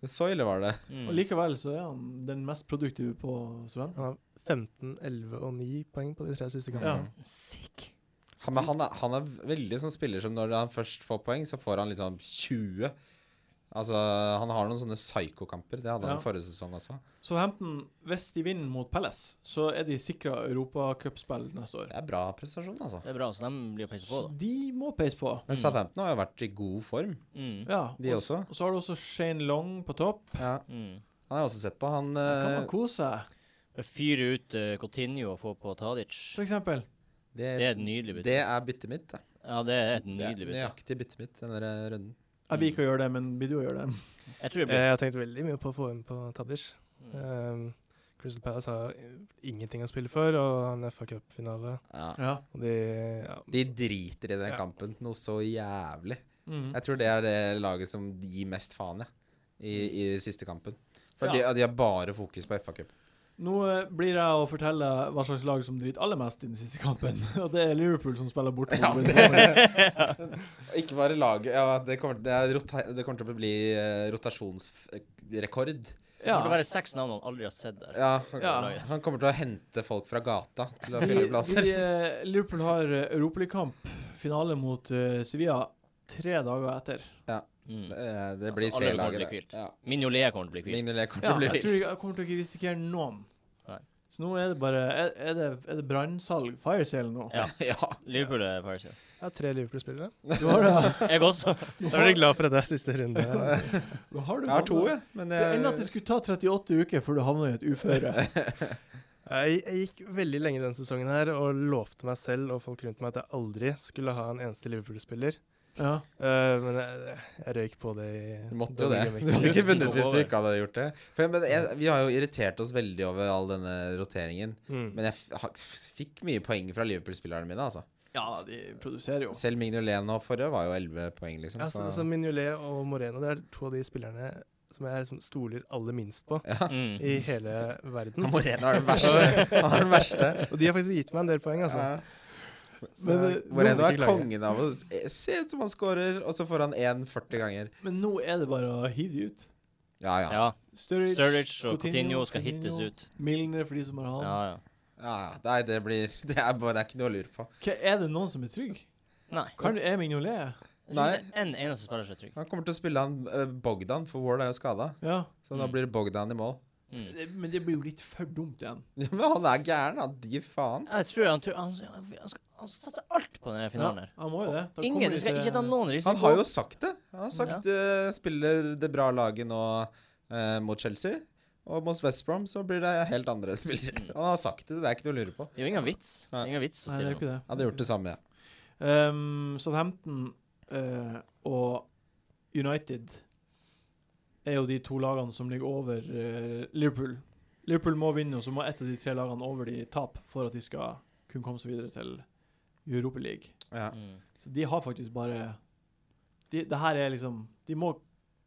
S4: Så ille var det.
S2: Mm.
S1: Og likevel så er han den mest produktive på Sven.
S5: Han har 15, 11 og 9 poeng på de tre siste
S1: Ja.
S5: kampene.
S2: Sick.
S4: Han, men han, er, han er veldig sånn spiller som når han først får poeng, så får han liksom 20. Altså, Han har noen sånne psykokamper. Det hadde han
S1: Ja.
S4: forrige sesong også.
S1: Southampton, hvis de vinner mot Palace, så er de sikra europacupspill neste år.
S4: Det er bra prestasjon, altså.
S2: Det er bra, så de blir å peise på,
S1: Så
S2: da.
S1: de må peise på.
S4: Men Southampton har jo vært i god form,
S2: Mm.
S1: Ja.
S4: de
S1: Og,
S4: også.
S1: og så har du også Shane Long på topp.
S4: Ja,
S2: Mm.
S4: han har jeg også sett på. Han
S1: Da kan
S4: eh,
S1: man kose seg,
S2: Bare Fyre ut uh, Coutinho og få på Tadic.
S1: for eksempel.
S4: det,
S2: Det er et nydelig bytte.
S4: det er byttet mitt. Da.
S2: Ja, det er et
S4: Det er
S2: nydelig bytte.
S4: nøyaktig byttet mitt denne runden.
S1: Jeg
S2: mm.
S1: liker å gjøre det, men blir du å gjøre det?
S2: Jeg tror det
S5: Eh,
S2: blir
S5: Jeg har tenkt veldig mye på å få inn på Tadish.
S2: Mm.
S5: Um, Crystal Palace har ingenting å spille for, og han er FA Cup-finale.
S4: Ja.
S1: Ja.
S5: Og de ja,
S4: De driter i den
S5: Ja.
S4: kampen noe så jævlig.
S1: Mm.
S4: Jeg tror det er det laget som gir mest faen, jeg, i, i siste kampen. For
S1: Ja.
S4: de, de har bare fokus på FA-cup.
S1: Nå eh, blir jeg å fortelle hva slags lag som driter aller mest i den siste kampen. Og det er Liverpool som spiller bort. mot Brentford.
S4: Ikke bare laget ja, det, kommer, det, er rota det kommer til å bli eh, rotasjonsrekord.
S2: Det
S1: ja.
S2: burde være seks navn han aldri har sett der.
S4: Ja, han-
S1: Ja.
S4: Han kommer til å hente folk fra gata til å
S1: De,
S4: fylle plasser.
S1: de, eh, Liverpool har eh, Europaligakamp, finale mot eh, Sevilla, tre dager etter.
S2: Mm.
S4: Eh, Det
S1: Altså,
S4: blir
S2: alle kommer
S4: C-laget
S2: til å bli
S4: der. Ja.
S2: Mignolet kommer til å bli kvitt.
S4: Mignolet kommer
S1: Ja,
S4: til å bli
S1: jeg tror
S4: vilt.
S1: ikke- jeg kommer til å ikke risikere noen.
S2: Nei.
S1: Så nå er det bare Er, er det, er det brannsalg? Firesale nå?
S2: Ja.
S4: Ja.
S2: Liverpool er Farsi.
S5: jeg har tre Liverpool-spillere.
S1: Du har det.
S2: Jeg også.
S5: Da er du glad for at det er siste runde. altså.
S1: Du har det
S4: Jeg har to, jeg. Men
S1: Det ender at det
S4: jeg,
S1: skulle ta 38 uker før du havner i et uføre.
S5: Jeg, jeg gikk veldig lenge denne sesongen her og lovte meg selv og folk rundt meg at jeg aldri skulle ha en eneste Liverpool-spiller.
S1: Ja.
S5: Eh, men jeg, jeg røyk på det i
S4: du måtte jo
S5: denne gamet.
S4: det. Du hadde ikke
S2: Luften
S4: vunnet
S2: kom
S4: hvis du
S2: over.
S4: ikke hadde gjort det. For, men jeg, vi har jo irritert oss veldig over all denne roteringen.
S5: Mm.
S4: Men jeg f ha- f- fikk mye poeng fra Liverpool-spillerne mine, altså.
S1: ja, de produserer jo.
S4: Selv Mignolet nå forrige var jo 11 poeng, liksom.
S5: Altså, altså
S4: Så
S5: Mignolet og Moreno det er to av de spillerne som jeg liksom stoler aller minst på
S2: Mm.
S5: i hele verden.
S4: Moreno er den verste. Han er den verste.
S5: Og de har faktisk gitt meg en del poeng, altså.
S4: Ja.
S5: Så
S1: Men, eh,
S5: jeg kan
S4: Moreno
S5: ikke
S4: er
S5: klage.
S4: kongen av å se ut som han scorer, og så får han 1,40 ganger.
S1: Men nå er det bare å hive de ut.
S4: Ja, ja.
S2: Ja.
S1: Sturridge,
S2: Sturridge og Coutinho skal hittes ut.
S1: Milner for de som har han.
S2: Ja, ja.
S4: ja ja. Nei, det blir Det er bare det er ikke noe å lure på.
S1: Hva, er det noen som er trygg?
S2: Nei.
S1: Kan er Mignolet?
S2: Jeg
S4: Nei.
S2: tror ikke det er En eneste spiller som er trygg.
S4: Han kommer til å spille han eh, Bogdan, for Ward er jo skada.
S1: Ja.
S4: Så da
S2: Mm.
S4: blir det Bogdan i mål.
S2: Mm.
S1: Det, Eh, men det blir jo litt for dumt igjen.
S4: Ja, Men han er gæren, han. Gi faen.
S2: Jeg tror han, tror, han, han, skal, han skal satse alt på denne finalen her.
S1: Ja, han må jo det. Da kommer
S2: Ingen,
S1: de
S2: de skal
S1: til-
S2: ikke ta noen risiko.
S4: Han har jo sagt det. Han har sagt eh, spiller det bra laget nå eh, mot Chelsea. Og mot West Brom så blir det helt andre spillere. Han har sagt det, det er ikke noe å lure på.
S2: Det er jo ingen vits. Det
S4: Nei.
S2: er ingen vits
S1: Nei, det
S2: å
S1: er
S2: stille
S1: jo
S2: noe.
S1: ikke det.
S4: Jeg hadde gjort det samme, jeg.
S1: Um, Southampton eh, og United er jo de to lagene som ligger over eh, Liverpool. Liverpool må vinne, og så må ett av de tre lagene over de tap for at de skal kunne komme seg videre til Europa League.
S4: Ja.
S2: Mm.
S1: Så de har faktisk bare de, Det her er liksom De må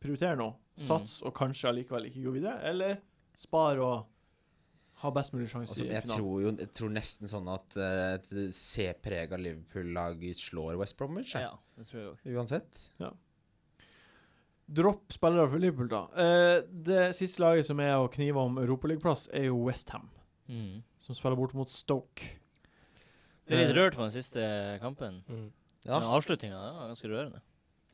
S1: prioritere noe.
S2: Mm.
S1: Sats og kanskje allikevel ikke gå videre. Eller spar og ha best mulig sjanse
S4: Altså,
S1: i
S4: jeg,
S1: finalen.
S4: tror jo, jeg tror nesten sånn at eh, et C-prega Liverpool-lag slår West Bromwich. jeg.
S2: Ja, det tror jeg òg.
S4: Uansett.
S1: Dropp spillere for Liverpool, da. Eh, det siste laget som er å knive om europaligaplass, er jo Westham.
S2: Mm.
S1: som spiller bort mot Stoke.
S2: Jeg er litt
S1: Eh,
S2: rørt på den siste kampen.
S5: Mm.
S4: Ja.
S2: Den avslutninga var ganske rørende.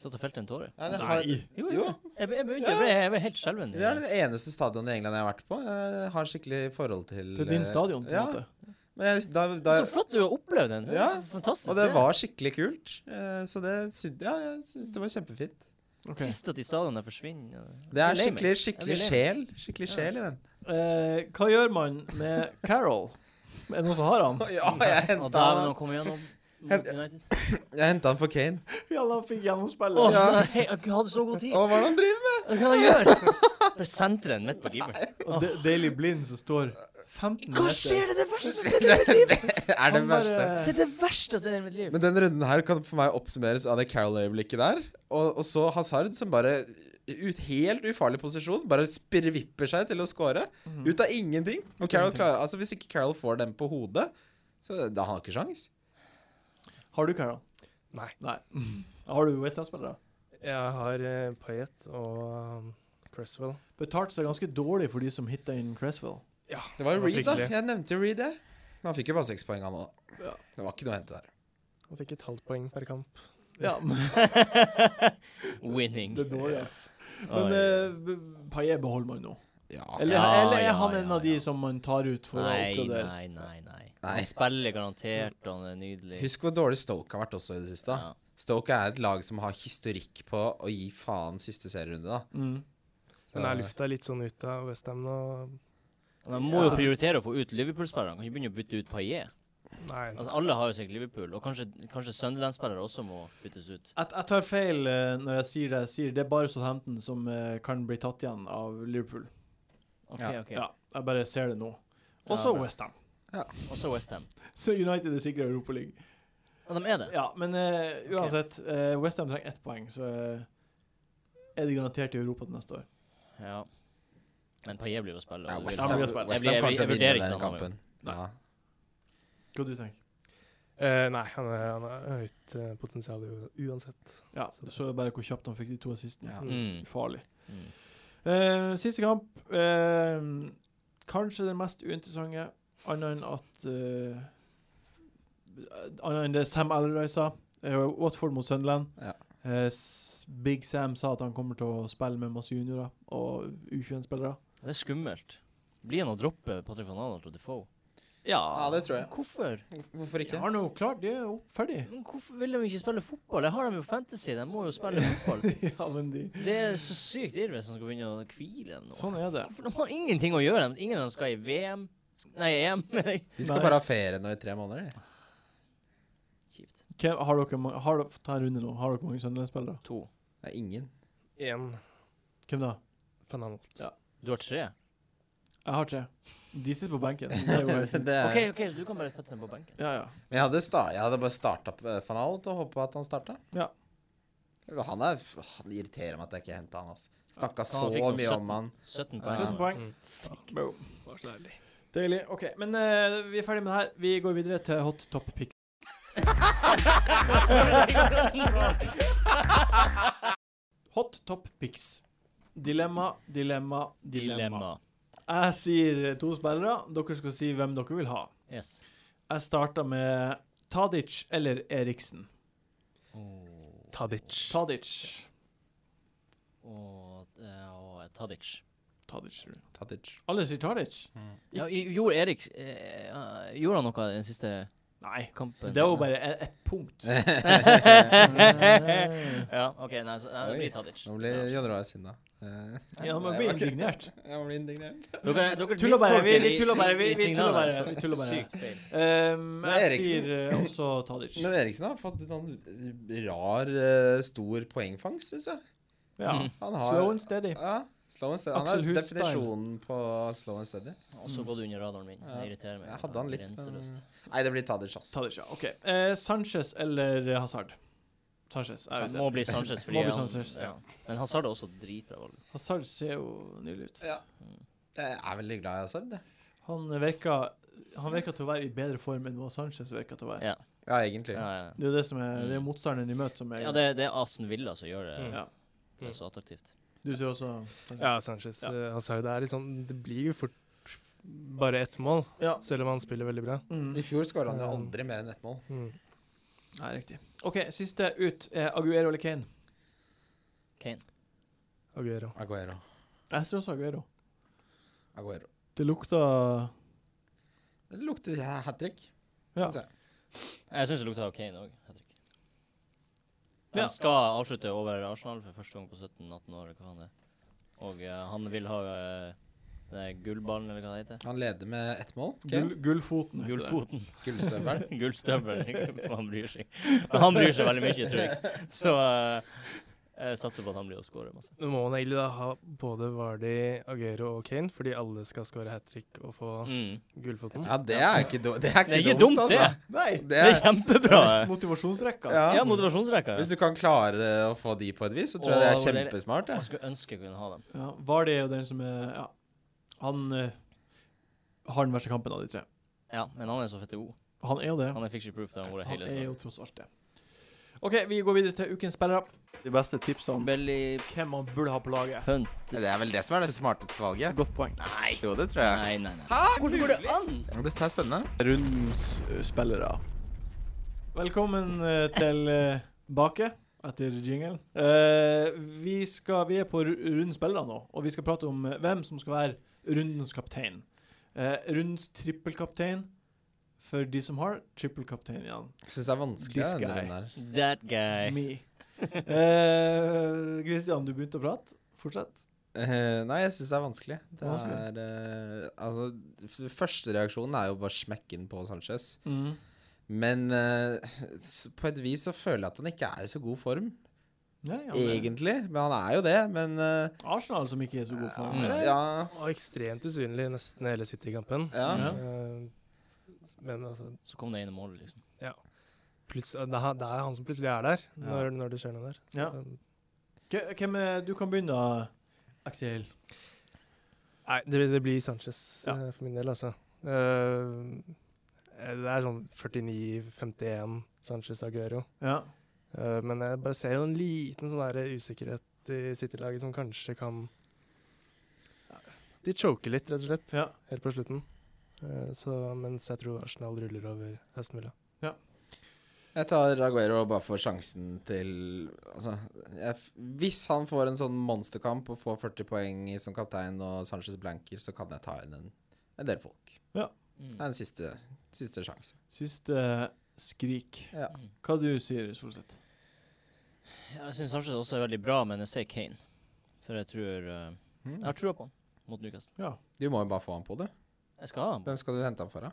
S2: Satt og felte en tåre. Altså,
S4: Nei, det har,
S1: Nei.
S2: Jo,
S4: jo,
S2: Jeg, be- jeg begynte, jeg ble, jeg ble helt skjelven.
S4: det er det eneste stadionet i England jeg har vært på. Jeg har skikkelig forhold til eh,
S1: Det er din stadion, på en
S4: ja,
S1: måte.
S4: Men jeg, da, da,
S2: Så flott du har opplevd den. Det er
S4: Ja,
S2: Fantastisk.
S4: og det
S2: det.
S4: var skikkelig kult. eh, Så det syns ja, jeg syns det var kjempefint.
S1: Ok.
S2: Trist at de stadionene forsvinner.
S4: Det er
S2: Jeg blir lei meg. Jeg blir
S4: skikkelig skikkelig
S2: lei meg.
S4: sjel Skikkelig sjel i den.
S1: Eh, hva gjør man med Carol? Er det noen som har han?
S4: Ja, jeg
S2: Å,
S4: henta
S2: dæven, han kom igjennom mot United.
S4: den for Kane.
S1: Ja, da fikk
S2: Å,
S1: gjennomspillet.
S4: Ja.
S2: nei, jeg hadde så god tid.
S4: Og hva er det han driver med?
S2: Hva kan jeg gjøre? Bare sentre den midt på keeperen.
S1: Og Da- Daily Blind som står 15 meter.
S2: Hva skjer? Det er det verste jeg har sett i mitt liv!
S4: Er det
S1: Han bare-
S4: verste.
S2: Det er det verste jeg har sett i mitt liv.
S4: Men den runden her kan for meg oppsummeres av det Carol-øyeblikket der. Og, og så Hazard som bare ut helt ufarlig posisjon, bare spirvipper seg til å score. Ut av ingenting. Og Carol klarer, altså Hvis ikke Carol får den på hodet, så da har han ikke sjans.
S1: Har du Carol?
S5: Nei.
S1: Nei. Har du West Ham-spillere?
S5: Jeg har uh, Payet og um, Cresswell.
S1: Betalt seg ganske dårlig for de som hitta inn Cresswell.
S5: Ja,
S4: Det var jo Reed, da.
S5: fryktelig.
S4: Jeg nevnte jo Reed, jeg. Men han fikk jo bare seks poeng, han òg.
S1: Ja.
S4: Det var ikke noe å hente der.
S5: Han fikk et halvt poeng per kamp.
S1: Ja, men
S2: Winning.
S1: det er dårlig, ass. Men
S4: eh,
S2: Oi.
S1: uh, Paillet beholder man nå.
S4: Ja.
S1: Eller,
S2: Ja,
S1: eller er
S2: ja,
S1: han
S2: ja,
S1: en av de
S2: ja.
S1: som man tar ut for
S2: Nei,
S1: å oppgradere?
S2: nei, nei, nei.
S4: Nei.
S2: Han spiller garantert, og han er nydelig.
S4: Husk hvor dårlig Stoke har vært også i det siste. da.
S2: Ja.
S4: Stoke er et lag som har historikk på å gi faen siste serierunde, da.
S1: Mm.
S4: Så-
S5: Men er lufta litt sånn ut av Westham nå?
S2: Men han må jo
S5: Ja.
S2: prioritere å få ut Liverpool-spillerne. Kan ikke begynne å bytte ut Paillet.
S5: Nei.
S2: Altså, alle har jo sikkert Liverpool, og kanskje, kanskje Sunderland-spillere også må byttes ut.
S1: Jeg, jeg tar feil eh, når jeg sier det jeg sier. Det er bare Southampton som eh, kan bli tatt igjen av Liverpool.
S2: OK,
S4: Ja.
S2: OK.
S1: Ja, jeg bare ser det nå.
S2: Ja,
S1: Også
S2: bra.
S1: West Ham.
S2: Også Westham.
S1: Så United er sikra Europaligaen.
S2: Ja, de er det.
S1: Ja, men eh,
S2: Ok.
S1: uansett. eh, West Ham trenger ett poeng, så eh, er de garantert i Europa til neste år.
S2: Ja. Men Paillet blir jo å spille.
S4: ja,
S2: og det
S4: West
S2: vil-
S1: Han
S4: Ham
S1: blir å spille.
S4: West
S2: Jeg
S4: Ham
S2: blir-
S4: kommer til å
S2: jeg
S4: vinne
S2: vurderer ikke
S4: den
S2: han, han
S4: kampen. Ja.
S1: Hva du tenker
S5: Eh, nei, han er, han er høyt eh, potensial u- uansett.
S1: Ja, Du så jo bare hvor kjapt han fikk de to assistene.
S4: Ja.
S2: Mm.
S1: Farlig.
S2: Mm.
S1: Eh, siste kamp. eh, kanskje den mest uinteressante, annet enn at eh, Annet enn det Sam Allerøy sa. Eh, Watford mot Sunderland.
S4: Ja.
S1: Eh, s- Big Sam sa at han kommer til å spille med masse juniorer og U21-spillere.
S2: Det er skummelt. Blir han å droppe Patrick van Anhalt og Defoe?
S4: ja, det tror jeg.
S2: Hvorfor?
S4: Hvorfor
S1: De
S4: ikke?
S1: har nå klart, de er jo ferdig.
S2: Men hvorfor vil de ikke spille fotball? Jeg har dem jo på Fantasy, de må jo spille fotball.
S1: ja, men de
S2: Det er så sykt irr hvis de skal begynne å hvile dem nå.
S1: Sånn er det.
S2: For de har ingenting å gjøre. Ingen av dem skal i VM. Nei, EM. mener jeg.
S4: De skal
S1: Nei.
S4: bare ha ferie nå i tre måneder, de.
S2: Kjipt.
S1: Hvem, har dere, ma- har dere, ta en runde nå. Har dere mange Sunderland-spillere?
S2: To.
S4: Det er ingen.
S5: Én
S1: Hvem da?
S5: Fananholt.
S1: Ja.
S2: Du har tre.
S1: Jeg har tre. De sitter på benken. Det er jo helt fint.
S4: Det er,
S2: OK, ok, så du kan bare putte dem på benken.
S1: Ja, ja.
S4: Men jeg hadde, sta jeg hadde bare starta van Alt og håpa at han starta.
S1: Ja.
S4: Han, er, han irriterer meg at jeg ikke henta han. Altså. Snakka så
S2: Han fikk noe
S4: mye om
S2: 17. 17
S4: han. Ja.
S2: poeng.
S1: 17 poeng.
S5: Mm.
S1: Boom.
S5: Var så deilig.
S1: Deilig. OK, men eh, vi er ferdig med det her. Vi går videre til hot top pick. Hot top picks. Dilemma, dilemma, dilemma.
S2: Dilemma.
S1: Jeg sier to spillere. Dere skal si hvem dere vil ha.
S2: Yes.
S1: Jeg starter med Tadic eller Eriksen.
S5: Tadic.
S1: Tadic.
S2: Og, eh, og Tadic.
S1: Tadic. tror jeg.
S4: Tadic.
S1: Alle sier Tadic.
S2: Ja, i- gjorde Erik eh, eh, Gjorde han noe i den siste
S1: Nei.
S2: kampen?
S1: Det var bare ett et punkt.
S2: Ja, OK, nei, så nei, det
S4: Oi.
S2: blir Tadic.
S4: Nå blir Jon Roar sinna. Eh,
S1: Ja, man blir indignert.
S4: Jeg blir indignert.
S2: Dere, dere
S1: Tuller bare, vi- vi
S2: mistolker de-
S1: tuller bare, vi-
S2: de
S1: vi tuller
S2: signalene
S1: bare,
S2: som-
S1: vi tuller bare.
S2: Sykt feil.
S1: Um,
S4: Men
S1: jeg
S4: Eriksen-
S1: sier eh, også Tadic.
S4: Men Eriksen har fått en sånn rar, eh, stor poengfangst, syns jeg.
S1: Ja.
S2: Mm.
S4: Han har,
S1: Slow and steady.
S4: Ja, slow and steady. Han
S1: Axel
S4: er
S1: Hus style.
S4: definisjonen på slow and steady.
S2: Også gått under radaren min.
S4: Mm. Ja.
S2: Det irriterer meg.
S4: Jeg hadde han litt, men-
S2: Grenseløst.
S4: Nei, det blir Tadic, ass.
S1: Tadic, ja. OK. Eh, Sanchez eller eh, Hazard? Sanchez. Jeg
S2: Det
S1: vet det.
S2: må bli Sanchez. Fordi
S1: Må bli
S2: han-
S1: Sanchez, ja.
S2: ja. Men Hazard er også dritbra valg.
S1: Hazard ser jo nydelig ut.
S4: Ja. Jeg er veldig glad i Hazard, jeg.
S1: Han virker, han virker til å være i bedre form enn hva Sanchez virker til å være.
S2: Ja.
S4: Ja, egentlig.
S2: Ja, ja.
S1: Det er jo det som er, det er
S2: Mm.
S1: motstanderen de møter, som er
S2: ja det, det er Aston Villa som gjør
S5: Mm.
S2: det,
S1: Ja.
S2: det er så attraktivt.
S1: Du ser også Sanchez.
S5: Ja, Sanchez.
S1: Ja.
S5: eh, altså, det, er litt sånn, det blir jo fort bare ett mål,
S1: Ja.
S5: selv om han spiller veldig bra.
S1: Mm.
S4: I fjor skåra han jo aldri mer enn ett mål.
S5: Mm.
S1: Nei, riktig. OK, siste ut er Aguero eller Kane.
S2: Kane.
S5: Aguero.
S4: Aguero.
S1: Jeg ser også Aguero.
S4: Aguero.
S1: Det lukta
S4: Det lukter hat trick.
S1: Ja.
S2: Jeg syns det lukta av Kane òg.
S1: Ja.
S2: Han skal avslutte over Arsenal for første gang på 17-18 år. Hva faen det er. Og eh, han vil ha eh, det er gullballen, eller hva det heter.
S4: Han leder med ett mål.
S1: gull,
S4: Kane.
S1: Gullfoten. heter det.
S2: Gullfoten.
S4: Gullstøvelen.
S2: Gullstøvel. han bryr seg. Men han bryr seg veldig mye, tror jeg. Så eh, jeg satser på at han blir å skåre masse.
S5: Nå må man egentlig da ha både Vardy, Aguero og Kane, fordi alle skal score hat trick og få
S2: Mm.
S5: gullfoten.
S4: Ja, det er ikke, do det er ikke,
S2: Det er ikke
S4: dumt,
S2: dumt, det.
S4: altså.
S1: Nei!
S4: Det
S2: Det er
S4: er, altså.
S2: kjempebra.
S1: Motivasjonsrekka.
S4: ja.
S2: Ja, motivasjonsrekka.
S4: Hvis du kan klare å få de på et vis, så tror jeg det er
S2: Og det er-
S4: kjempesmart.
S2: Jeg
S4: Ja.
S2: skulle ønske jeg kunne ha dem.
S1: Ja, Vardy er jo den som er ja. Han eh, har den verste kampen av de tre.
S2: Ja, men han er så fette god.
S1: Han er jo det.
S2: Han er fiction proof. Det har han vært
S1: Han
S2: hele
S1: er jo
S2: tiden.
S1: tross alt det. OK, vi går videre til ukens spillere. De beste tipsene
S2: Belly
S1: hvem man burde ha på laget.
S2: Hunt.
S4: Det er vel det som er det smarteste valget.
S1: Godt poeng.
S4: Nei. Jo, det tror jeg.
S2: Nei, nei, nei.
S1: Ah,
S2: Hvordan går det an?
S4: Dette er spennende.
S1: Rundens eh, spillere. Velkommen eh, tilbake etter jinglen. Eh, vi, skal, vi er på ru- rundens spillere nå, og vi skal prate om eh, hvem som skal være rundens kaptein. Eh, rundens trippelkaptein for de som har trippelkaptein igjen.
S4: Jeg syns det er vanskelig.
S1: This
S4: denne
S1: guy.
S4: runden her.
S2: That guy.
S1: Me. Eh, Christian, du begynte å prate. Fortsett.
S4: Eh, nei, jeg syns det er vanskelig. Det
S1: Vanskelig.
S4: er, eh, altså, f- første reaksjonen er jo bare smekken på Sanchez. Men eh, s- på et vis så føler jeg at han ikke er i så god form,
S1: Nei, han er-
S4: egentlig. Men han er jo det. Men eh,
S1: Arsenal som ikke er så god form.
S2: Mm.
S4: ja,
S5: Og ekstremt usynlig nesten hele City-kampen.
S4: ja.
S1: Ja.
S5: Eh, Men altså
S2: Så kom det ene målet, liksom.
S5: plutselig- det er han- det er han som plutselig er der,
S4: Ja.
S5: når, når det skjer noe der.
S1: Ja.
S5: Um,
S1: K- Hvem er Du kan begynne, da, Aksel.
S5: Nei, det, det blir Sanchez
S1: Ja.
S5: eh, for min del, altså. Eh, det er sånn 49-51 Sanchez Aguero.
S1: Ja.
S5: Eh, men jeg bare ser jo en liten sånn der usikkerhet i City-laget som kanskje kan De choker litt, rett og slett,
S1: ja.
S5: helt på slutten. Eh, så, mens jeg tror Arsenal ruller over Aston Villa.
S4: Jeg tar Aguero bare for sjansen til Altså, jeg, f- hvis han får en sånn monsterkamp og får 40 poeng i- som kaptein og Sanchez blanker, så kan jeg ta inn en, en del folk.
S2: Mm.
S4: Det er en siste, siste sjanse.
S1: Siste skrik.
S4: Ja.
S1: Hva du sier Solseth?
S2: Mm. Jeg syns Sanchez også er veldig bra, men jeg ser Kane. For jeg tror eh, Jeg har trua på han mot Newcastle.
S4: Hm? Du må jo bare få han på, du.
S2: Jeg skal ha han.
S4: Hvem skal du hente han for, da?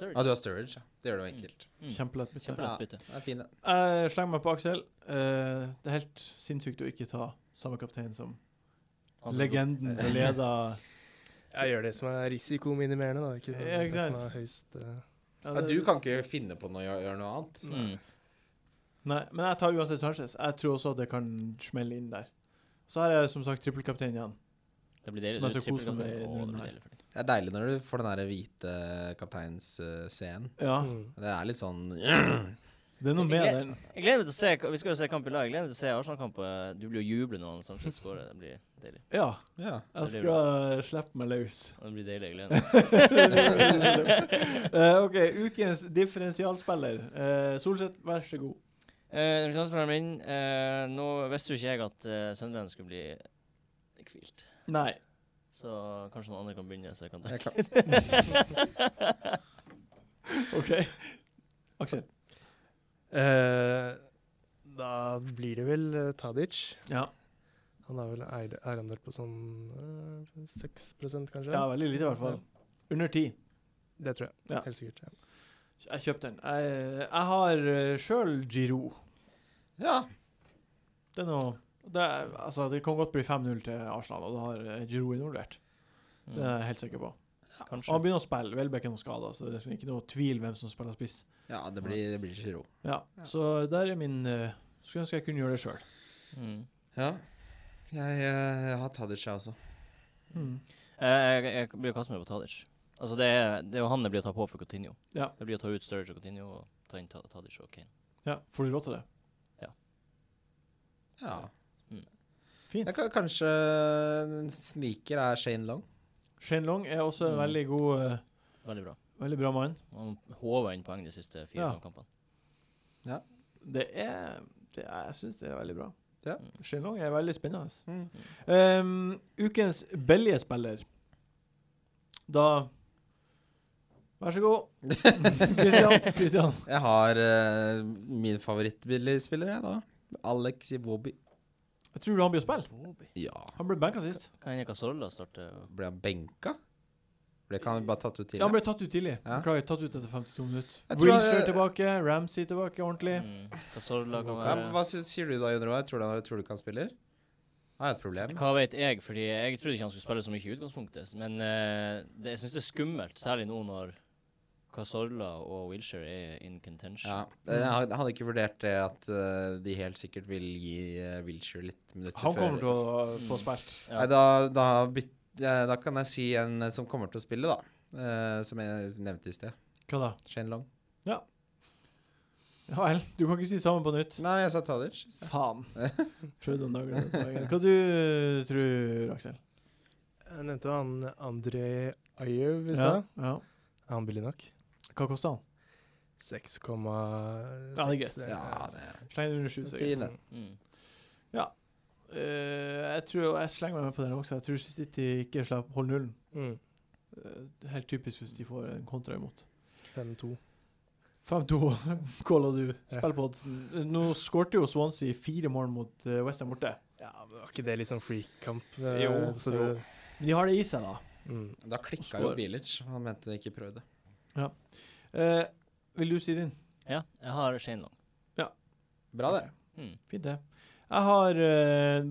S4: Ja,
S2: Sturridge.
S4: du har Sturridge, ja. Det gjør det jo enkelt.
S2: Mm.
S1: Kjempelett bytte.
S2: Kjempelett bytte.
S4: Det er fin, det.
S1: Jeg slenger meg på Aksel. Eh, det er helt sinnssykt å ikke ta samme kaptein som Altså,
S2: Han som
S1: legenden som leder
S5: Jeg gjør det som er risikominimerende, da. Ikke det
S1: Ja, ikke
S5: som
S1: sant.
S5: er høyst eh,
S1: Ja,
S4: Ja,
S1: det-
S4: du kan ikke finne på noe å gjøre noe annet.
S2: går- Mm.
S1: Nei, men jeg tar uansett Sanchez. Jeg tror også at det kan smelle inn der. Så har jeg som sagt trippelkaptein igjen.
S2: Det blir
S1: Som er
S2: deilig.
S1: så
S2: Du
S1: kos
S2: tripper
S1: med
S2: godt. Å, det
S1: runden
S2: blir
S1: her.
S2: deilig for deg.
S4: Det er deilig når du får den der hvite kapteinsscenen.
S1: Ja,
S5: mm.
S4: Det er litt sånn
S1: det er noe med den.
S2: Jeg gleder meg til å se Vi skal jo se kamp i lag. Jeg gleder meg til å se Arsenal-kamp. og Du blir jo juble når han Sanchez skårer. Det blir deilig.
S1: Ja,
S4: Ja.
S1: jeg skal slippe meg løs.
S2: Det blir deilig. Jeg gleder meg.
S1: Eh, OK, ukens differensialspiller. Eh, Solseth, vær så god.
S2: Eh, representantspilleren min eh, Nå visste jo ikke jeg at uh, Sunderland skulle bli hvilt.
S1: Nei.
S2: Så kanskje noen andre kan begynne, så jeg kan
S4: Jeg
S2: tenke.
S4: er klar.
S1: OK. Aksel.
S5: Eh, Da blir det vel eh, Tadic.
S1: Ja.
S5: Han har vel eid- eierandel på sånn eh, 6 kanskje?
S1: Ja, veldig lite i hvert fall. Under ti.
S5: Det tror jeg.
S1: Ja.
S5: Helt sikkert. Ja.
S1: Jeg kjøpte den. Jeg, jeg har eh, sjøl Giro.
S4: Ja.
S1: Det er noe det, er, altså, det kan godt bli 5-0 til Arsenal, og da har eh, Giro involvert. Det er jeg helt sikker på. Og
S2: Mm. Kanskje.
S1: han begynner å spille. Welbeck er noe skada, så det er liksom ikke noe tvil hvem som spiller spiss.
S4: ja, det blir, det blir ikke ro.
S1: Ja, Så der er min eh, Skulle ønske jeg kunne gjøre det sjøl.
S2: Mm.
S4: Ja. Jeg, eh, har Tadic, jeg også.
S1: Mm.
S2: Eh, jeg, jeg blir å kaste meg på Tadic. Altså det, er, det er jo han det blir å ta på for Coutinho.
S1: Ja.
S2: Det blir å ta ut Sturridge og Coutinho og ta inn Ta- Tadic og Kane.
S1: Ja, får du råd til det?
S4: Ja. Jeg
S1: Fint.
S4: kan, kanskje en sniker er Shane Long.
S1: Shane Long er også en veldig god eh,
S2: Veldig bra.
S1: Veldig bra mann.
S2: Han håva inn poeng de siste fire
S1: Ja.
S2: kampene.
S1: Det er det er, Jeg syns det er veldig bra.
S4: Ja.
S1: Shenlong er veldig spennende.
S4: Mm.
S1: Ehm, ukens billige spiller. Da Vær så god. Kristian. Kristian.
S4: Jeg har eh, min favorittbilligspiller, jeg, da. Alex Iwobi.
S1: Jeg tror han blir å spille.
S4: Ja.
S1: Han ble benka sist.
S2: Kan hende Casorla starter
S4: Ble han benka? Ble ikke han bare tatt ut
S1: Ja, han
S4: tidligere?
S1: ble tatt ut tidlig.
S4: Ja.
S1: Beklager, tatt ut etter 52 minutter.
S4: Jeg tror
S1: Wilshere
S4: jeg-
S1: tilbake, Ramsey tilbake ordentlig.
S2: mm, Casorla kan
S4: Ja,
S2: være
S4: hva sy- sier du da, Jon Roar? Tror, du han- tror du ikke han spiller? Har jeg et problem?
S2: Hva vet jeg, fordi jeg trodde ikke han skulle spille så mye i utgangspunktet. Men eh, det, jeg syns det er skummelt, særlig nå når Casorla og Wilshere er in contention.
S4: Ja. Jeg har- jeg hadde ikke vurdert det at eh, de helt sikkert vil gi uh, Wilshere litt minutter
S1: Han
S4: før.
S1: kommer til å få spilt.
S2: Ja.
S4: Nei, da, da, byt, eh, da kan jeg si en eh, som kommer til å spille, da. Eh, som jeg nevnte i sted.
S1: Hva da?
S4: Shane Long.
S1: Ja vel. Du kan ikke si sammen på nytt.
S4: Nei, jeg sa Tadic. i sted.
S1: Faen. Prøvde å nagle det poenget. Hva du tror Aksel?
S5: Jeg nevnte jo han André Ayew
S1: Ja,
S5: i stad.
S1: ja.
S5: Er han billig nok?
S1: Hva kosta han?
S5: 6,6.
S1: Ja, det er greit.
S4: Ja, det er
S1: Sleng den under sju. så er det greit.
S4: fin, den.
S2: Mm.
S1: Eh, jeg tror Jeg slenger meg med på den også. Jeg tror City ikke slapp holde nullen.
S5: Mm.
S1: Eh, det er helt typisk hvis de får en kontra imot.
S5: 5-2.
S1: 5-2, caller du. Spill på oddsen. Nå skårte jo Swansea fire mål mot eh, West Ham borte.
S5: Ja, men var ikke det litt sånn freak-kamp? eh,
S1: Jo,
S5: så
S1: jo.
S5: det-
S1: Men de har det i seg, da.
S5: Mm.
S4: Da klikka
S1: Og
S4: jo
S1: score.
S4: Bilic. Han mente de ikke prøvde.
S1: Eh, vil du si din?
S2: ja, jeg har Shane Long.
S4: Bra, det.
S2: Mm.
S1: Fint, det. Jeg har eh,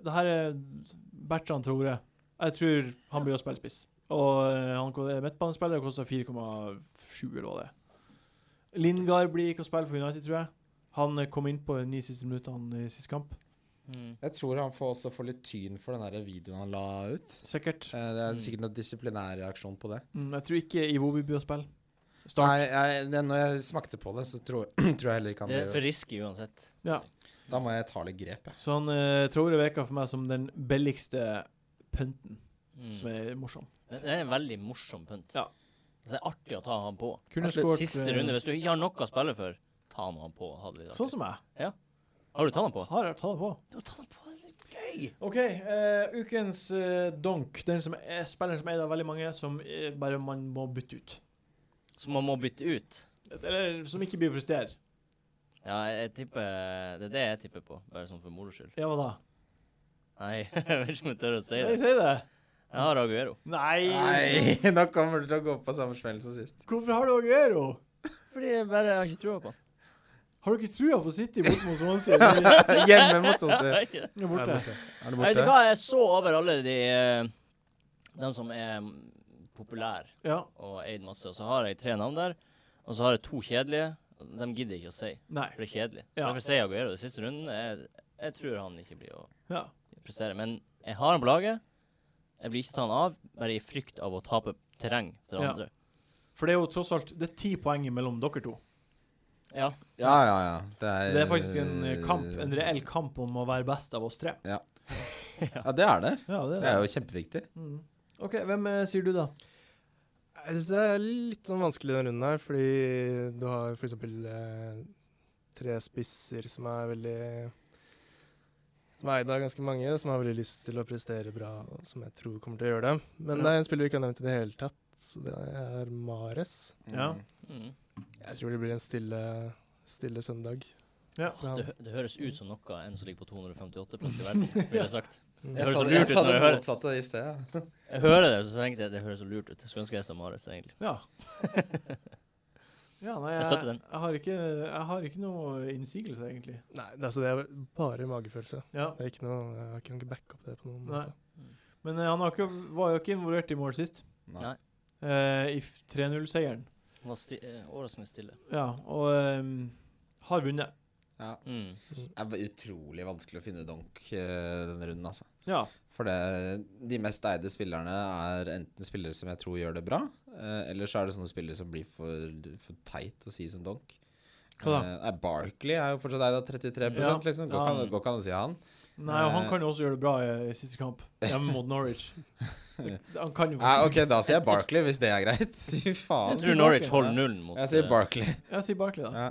S1: Det her er Bertrand Trore. Jeg tror han blir å spille spiss. Og eh, han ko- er midtbanespiller og koster 4,7 eller hva det er. Lingard blir ikke å spille for United, tror jeg. Han eh, kom innpå de ni siste minuttene i sist kamp.
S2: Mm.
S4: Jeg tror han får også får litt tyn for den der videoen han la ut.
S1: Sikkert.
S4: Eh, Det er
S2: Mm.
S4: sikkert noen disiplinær reaksjon på det.
S1: Mm, jeg tror ikke Iwobi blir å spille.
S4: Nei,
S1: Start.
S4: jeg, det- når jeg smakte på det, så tror, tror jeg heller ikke han
S2: Det er for
S4: blir
S2: risky uansett.
S1: Ja.
S4: Da må jeg ta litt grep, jeg.
S1: Så han eh, Traore virker for meg som den billigste pynten
S2: Mm.
S1: som er morsom.
S2: Det det er en veldig morsom pynt.
S1: Ja.
S2: Så det er artig å ta han på.
S1: Kunne
S4: At det
S1: skårt
S2: Siste
S1: eh,
S2: runde, hvis du ikke har noe å spille for, ta nå han på. Hadde vi
S1: Sånn som jeg.
S2: Har du tatt han på?
S1: Har jeg tatt det på.
S2: Du har tatt han på, det er så gøy!
S1: OK. eh, ukens eh, donk. Den som er, spilleren som er det veldig mange, som eh, bare man må bytte ut.
S2: Så man må bytte ut.
S1: Eller som ikke blir å prestere.
S2: Ja, jeg, jeg tipper Det er det jeg tipper på, bare sånn for moro skyld.
S1: Ja, hva da?
S2: Nei, jeg vet ikke om jeg tør å si
S1: Nei,
S2: det.
S1: si det!
S2: Jeg har Aguero.
S1: Nei.
S4: Nei, nå kommer du til å gå på samme smell som sist.
S1: Hvorfor har du Aguero?
S2: Fordi jeg bare har ikke trua på han.
S1: Har du ikke trua på City borte mot Swansea? De
S4: Hjemme mot Swansea.
S2: Jeg vet
S1: er borte.
S4: Er du
S2: ikke hva, jeg så over alle de eh, De som er mm, populære
S1: Ja.
S2: og eid masse, og så har jeg tre navn der. Og så har jeg to kjedelige. og De gidder jeg ikke å si,
S1: Nei.
S2: for det er kjedelig. Så
S1: Ja.
S2: Derfor sier jeg Aguero. Den siste runden jeg, jeg tror han ikke blir å
S1: Ja.
S2: prestere. Men jeg har han på laget. Jeg blir ikke tatt av, bare i frykt av å tape terreng til
S1: Ja.
S2: andre.
S1: For det er jo tross alt Det er ti poeng mellom dere to.
S2: Ja.
S4: Ja, ja, ja. Det er,
S1: Så det er faktisk en eh, kamp, en reell kamp om å være best av oss tre.
S4: Ja, det er det.
S1: Ja, det
S4: Det er jo kjempeviktig.
S1: Mm. OK, hvem eh, sier du, da?
S5: Jeg syns det er litt sånn vanskelig denne runden her, fordi du har f.eks. Eh, tre spisser som er veldig Som er eid av ganske mange, som har veldig lyst til å prestere bra, og som jeg tror kommer til å gjøre det. Men
S1: Ja.
S5: det er en spiller vi ikke har nevnt i det hele tatt, så det er Mares.
S1: Ja.
S2: Mm.
S4: Mm.
S5: Jeg tror det blir en stille, stille søndag.
S1: Ja.
S5: For han-
S2: Det, hø- det høres ut som noe en som ligger på 258 plass i verden, ville jeg sagt.
S5: Mm.
S2: Det
S4: Jeg
S2: høres så
S4: sa det, jeg
S2: lurt ut når
S4: sa det
S2: jeg hører det.
S4: motsatte i sted. ja.
S2: Jeg hører det, så tenkte jeg det høres så lurt ut. Jeg Skulle ønske jeg sa Mares, egentlig.
S1: Ja. ja nei,
S2: Jeg
S1: jeg,
S2: støtter den.
S1: jeg, har ikke, jeg har ikke noe innsigelse, egentlig.
S5: Nei, det er- så det er bare magefølelse.
S1: Ja.
S5: Det er ikke noe, jeg kan ikke backe opp det på noen
S1: Nei.
S5: måte.
S1: Men eh, han har ikke, var jo ikke involvert i mål sist,
S4: Nei.
S2: Nei.
S1: eh, i f- 3-0-seieren.
S2: Han var sti eh, overraskende stille.
S1: Ja, og eh, har vunnet.
S4: Ja.
S2: Mm.
S4: Det er utrolig vanskelig å finne donk eh, denne runden, altså.
S1: Ja.
S4: For det, de mest eide spillerne er enten spillere som jeg tror gjør det bra, eh, eller så er det sånne spillere som blir for, for teit å si som donk.
S1: Hva da?
S4: Eh, nei, Barkley er jo fortsatt eid av 33
S1: Ja.
S4: liksom. Går ikke
S1: Ja.
S4: an- går ikke an å si han.
S1: Nei, og
S4: Eh.
S1: han kan jo også gjøre det bra i, i siste kamp, hjemme mot Norwich. Det- Han kan jo
S4: Nei,
S1: faktisk
S4: ok, da sier jeg Barkley, hvis det er greit. Fy
S2: Jeg
S4: faen.
S1: sier
S2: tror Norwich
S1: Barkley,
S2: holder nullen mot
S4: Jeg sier
S2: eh,
S4: Barkley.
S1: Jeg sier Barkley, da.
S4: Ja.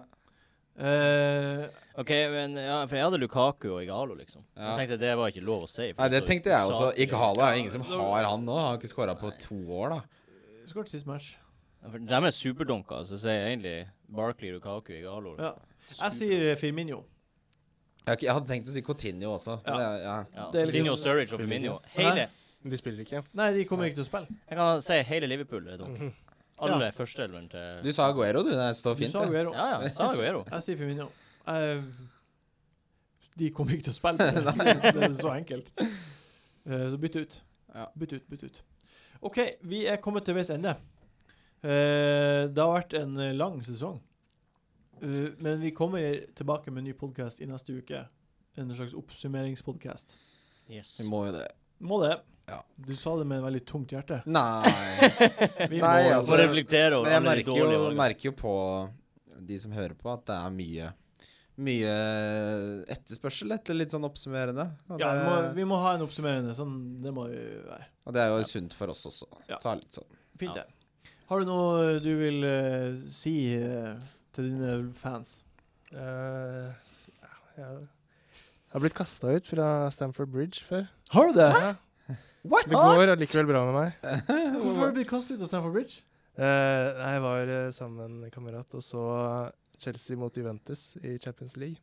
S1: Eh,
S2: OK, men ja, for jeg hadde Lukaku og Igalo, liksom.
S4: Ja.
S2: Jeg tenkte det var ikke lov å si. for
S4: Nei,
S2: det
S4: det
S2: er så
S4: tenkte jeg også.
S2: usaklig.
S4: Ighalo er jo ingen som har han nå. Han har ikke skåra på to år, da.
S1: Skåret sist match.
S2: Ja, For de er superdunker, så sier jeg egentlig Barkley, Lukaku, Igalo.
S1: Ja. Jeg sier Firmino.
S4: Jeg, har ikke- jeg hadde tenkt å si Coutinho også. men
S1: Ja.
S4: det- ja.
S2: Ja,
S1: Det er liksom-
S2: Coutinho, Sturridge og Firmino. Hele,
S5: De spiller ikke.
S1: Nei, de kommer ikke til å spille.
S2: jeg kan si hele Liverpool er dunker.
S5: Mhm.
S2: Alle førsteelveren til
S4: Du sa Aguero, du. Det står
S1: Du
S4: fint.
S1: sa
S4: det.
S1: Guero.
S2: Ja, ja. Sa Aguero.
S1: Jeg sier Firmino. Eh, de kommer ikke til å spille. det er så enkelt. Eh, så bytt ut.
S4: Ja.
S1: Bytt ut, bytt ut. OK, vi er kommet til veis ende. Eh, det har vært en eh, lang sesong. Eh, men vi kommer tilbake med en ny podkast i neste uke. En slags oppsummeringspodkast.
S2: Yes.
S4: Vi må jo det.
S1: Må det.
S4: Ja.
S1: Du sa det med en veldig tungt hjerte.
S4: Nei.
S1: Vi må,
S4: Nei,
S2: Må
S4: altså,
S2: reflektere over
S4: Men jeg
S2: alle de
S4: merker
S2: dårlige
S4: jo,
S2: valgene.
S4: merker jo på de som hører på, at det er mye mye etterspørsel etter litt sånn oppsummerende. Og det,
S1: ja, vi, må, vi må ha en oppsummerende. Sånn, det må vi være.
S4: og det er jo sunt for oss også.
S1: Ja.
S4: Ta litt sånn.
S1: Fint,
S2: Ja.
S1: det. Har du noe du vil eh, si eh, til dine fans?
S5: Eh, ja, jeg har blitt kasta ut fra Stamford Bridge før.
S1: Har du det?
S5: Ja. Det går allikevel bra med meg.
S1: Hvorfor har du blitt kastet ut av Stamford Bridge?
S5: Eh, nei, jeg var eh, sammen med en kamerat og så Chelsea mot Juventus i Champions League.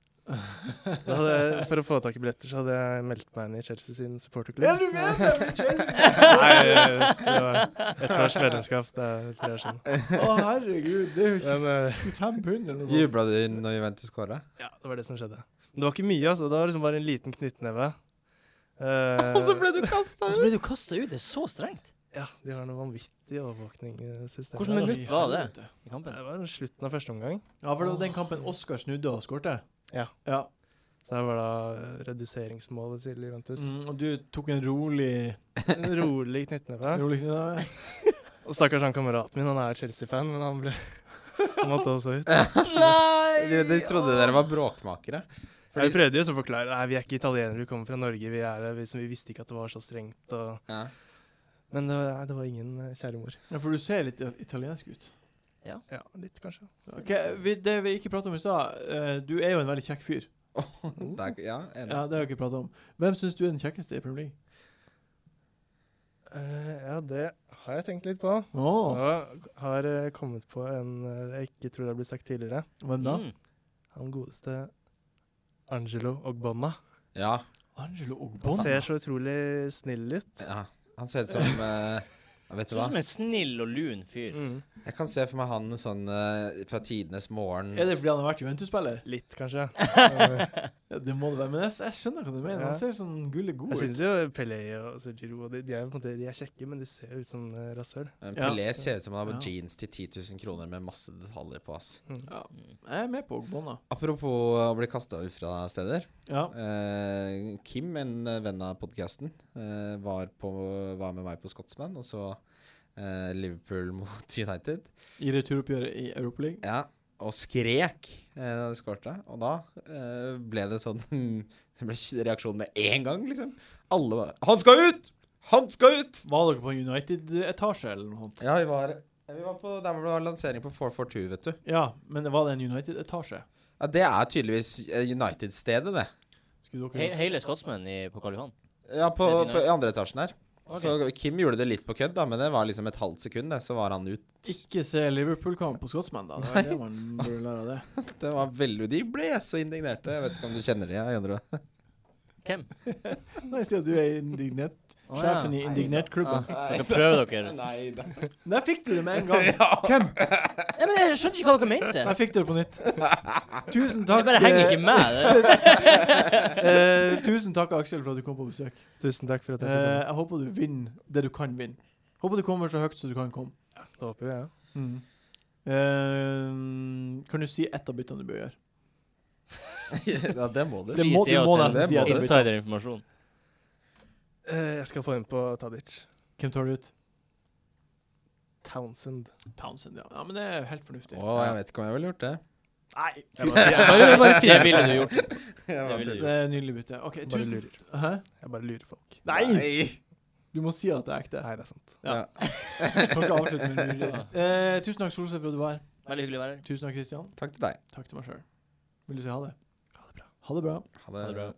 S5: Så hadde jeg, for å få tak i billetter så hadde jeg meldt meg inn i Chelsea sin supporterklubb.
S1: du med det?
S5: Nei, eh, det var ett års medlemskap. Det er flere år siden.
S1: Å, herregud. Det er jo
S5: Men eh,
S1: 25 pund eller noe sånt.
S4: Jubla du når Juventus skåra?
S5: ja, det var det som skjedde. Men det var ikke mye, altså. Det var liksom bare en liten knyttneve.
S4: Og så ble du
S2: Og
S4: kasta ut!
S2: så ble du kasta ut. Det er så strengt.
S5: Eh, Ja, de har noe vanvittig overvåkning i systemet.
S2: Hvordan
S5: der, altså.
S2: minutt var det?
S1: Altså, helvete.
S2: i kampen.
S5: Det var slutten av første omgang.
S1: Ja, for det var den kampen Oskar snudde og skårte.
S5: Ja.
S1: ja.
S5: Så her var da eh, reduseringsmålet til Juventus.
S1: Mm, og du tok en rolig
S5: En rolig knyttneve.
S1: Rolig ja.
S5: Og stakkars han kameraten min, han er Chelsea-fan, men han ble Han måtte også ut.
S4: De, de trodde dere var bråkmakere.
S5: Jeg prøvde jo så å forklare Nei, vi er ikke italienere, vi kommer fra Norge. Vi er vi, vi visste ikke at det var så strengt. Og...
S4: Ja.
S5: Men det var, nei, det var ingen eh, kjære mor.
S1: ja, for du ser litt italiensk ut.
S5: Ja, litt, kanskje.
S1: Ok, vi, Det vi ikke pratet om i stad, eh, du er jo en veldig kjekk fyr.
S4: Det er, ja, enig.
S1: Ja, Det har vi ikke pratet om. Hvem syns du er den kjekkeste i Premier League?
S5: Eh, ja, det har jeg tenkt litt på.
S1: Åh,
S5: Og har eh, kommet på en eh, jeg ikke tror det har blitt sagt tidligere.
S1: Hvem da?
S2: Mm.
S5: Han godeste Angelo Ogbonna.
S4: Ja.
S1: Angelo
S5: Han
S1: Ogbon.
S5: ser så utrolig snill ut.
S4: ja. Han ser ut som eh, ja, Vet du
S2: Sånn
S4: hva?
S2: som en snill og lun fyr.
S5: Mm.
S4: Jeg kan se for meg han sånn eh, fra tidenes morgen.
S1: Er det fordi han har vært Juventus-spiller?
S5: Litt, kanskje. Eh,
S1: Ja, det må det være. Men jeg, jeg skjønner hva du mener.
S5: Ja.
S1: Han ser sånn gulle god
S5: Jeg
S1: ut.
S5: syns jo Pelé og altså, Giroud og de, de, er, på en måte, de er kjekke, men de ser jo ut som eh, rasshøl.
S4: Men
S1: Ja.
S4: Pelé ser ut som han har på
S1: Ja.
S4: jeans til 10 000 kroner med masse detaljer på. ass.
S1: Ja.
S2: Mm.
S1: Jeg er med på Ogbon, da.
S4: Apropos å bli kasta ut fra steder.
S1: Ja.
S4: Eh, Kim, en eh, venn av podkasten, eh, var, på- var med meg på Scotsman, og så eh, Liverpool mot United.
S1: I returoppgjøret i Europaligaen.
S4: Ja, og skrek eh, da de skårte. Og da eh, ble det sånn Det ble reaksjon med én gang, liksom. Alle var Han skal ut! Han skal ut!
S1: Var dere på en United-etasje eller noe sånt?
S4: Ja, vi var vi var på, Der hvor det var lansering på 442, vet du.
S1: Ja, men var det en United-etasje?
S4: Ja, Det er tydeligvis eh, United-stedet, det.
S1: Skulle
S2: He
S1: dere
S2: hele Scotsman i- på Karl Johan.
S4: Ja, på,
S2: Det er
S4: på i andre etasjen her.
S2: Ok.
S4: Så Kim gjorde det litt på kødd, da, men det var liksom et halvt sekund, det, så var han ut.
S1: ikke se Liverpool-kamp på Scotsman, da? Det var det man burde lære av det.
S4: Det var veldig, De ble så indignerte. Jeg vet ikke om du kjenner de, jeg, Jondre.
S2: Hvem?
S1: Nei, Stian, du er indignert.
S2: Å, ja.
S1: Sjefen i
S2: Ah,
S1: indignert-klubben.
S2: dere prøver dere.
S4: Nei da.
S1: Der fikk du det med en gang. Hvem?
S2: Nei, men Jeg skjønte ikke hva dere mente.
S1: Der fikk du det på nytt. Tusen
S2: Jeg
S1: takk.
S2: bare henger
S1: eh,
S2: ikke med. Det.
S1: Eh, tusen takk, Aksel, for at du kom på besøk.
S5: Tusen takk for at
S1: Eh,
S5: jeg fikk komme.
S1: jeg håper du vinner det du kan vinne. Håper du kommer så høyt som du kan komme.
S5: Det håper jeg, ja.
S1: Mm. Eh, kan du si ett av byttene du bør gjøre?
S4: Ja, det må du.
S1: Det må, du
S2: gi
S1: må
S2: oss en
S1: nesten si ett av byttene.
S2: Insiderinformasjon.
S5: Eh, jeg skal få inn på Tadic.
S1: Hvem tar du ut?
S5: Townsend.
S1: Townsend, ja. ja. Men det er helt fornuftig.
S4: Å, jeg vet ikke om jeg ville gjort det.
S1: Nei,
S5: Jeg bare, jeg bare, jeg bare,
S2: Det ville du gjort.
S4: Jeg
S2: Det
S4: bare
S2: ville
S4: tuller.
S2: du
S1: det
S2: gjort.
S1: er et nydelig bytte. OK,
S5: jeg bare
S1: tusen
S5: lurer.
S1: Hæ?
S5: Jeg bare lurer folk.
S1: Nei! Du må si at det er ekte.
S5: Nei, det er sant.
S1: Jeg kan ikke avslutte med en luring. Eh, tusen takk, Solseth, for at du var her.
S2: Veldig hyggelig å være her.
S1: Tusen takk, Kristian.
S4: Takk til deg.
S1: Takk til meg sjøl.
S6: Vil du si ha det?
S7: Ha det bra.
S6: Ha det bra.
S1: Ha det.
S4: Ha det bra.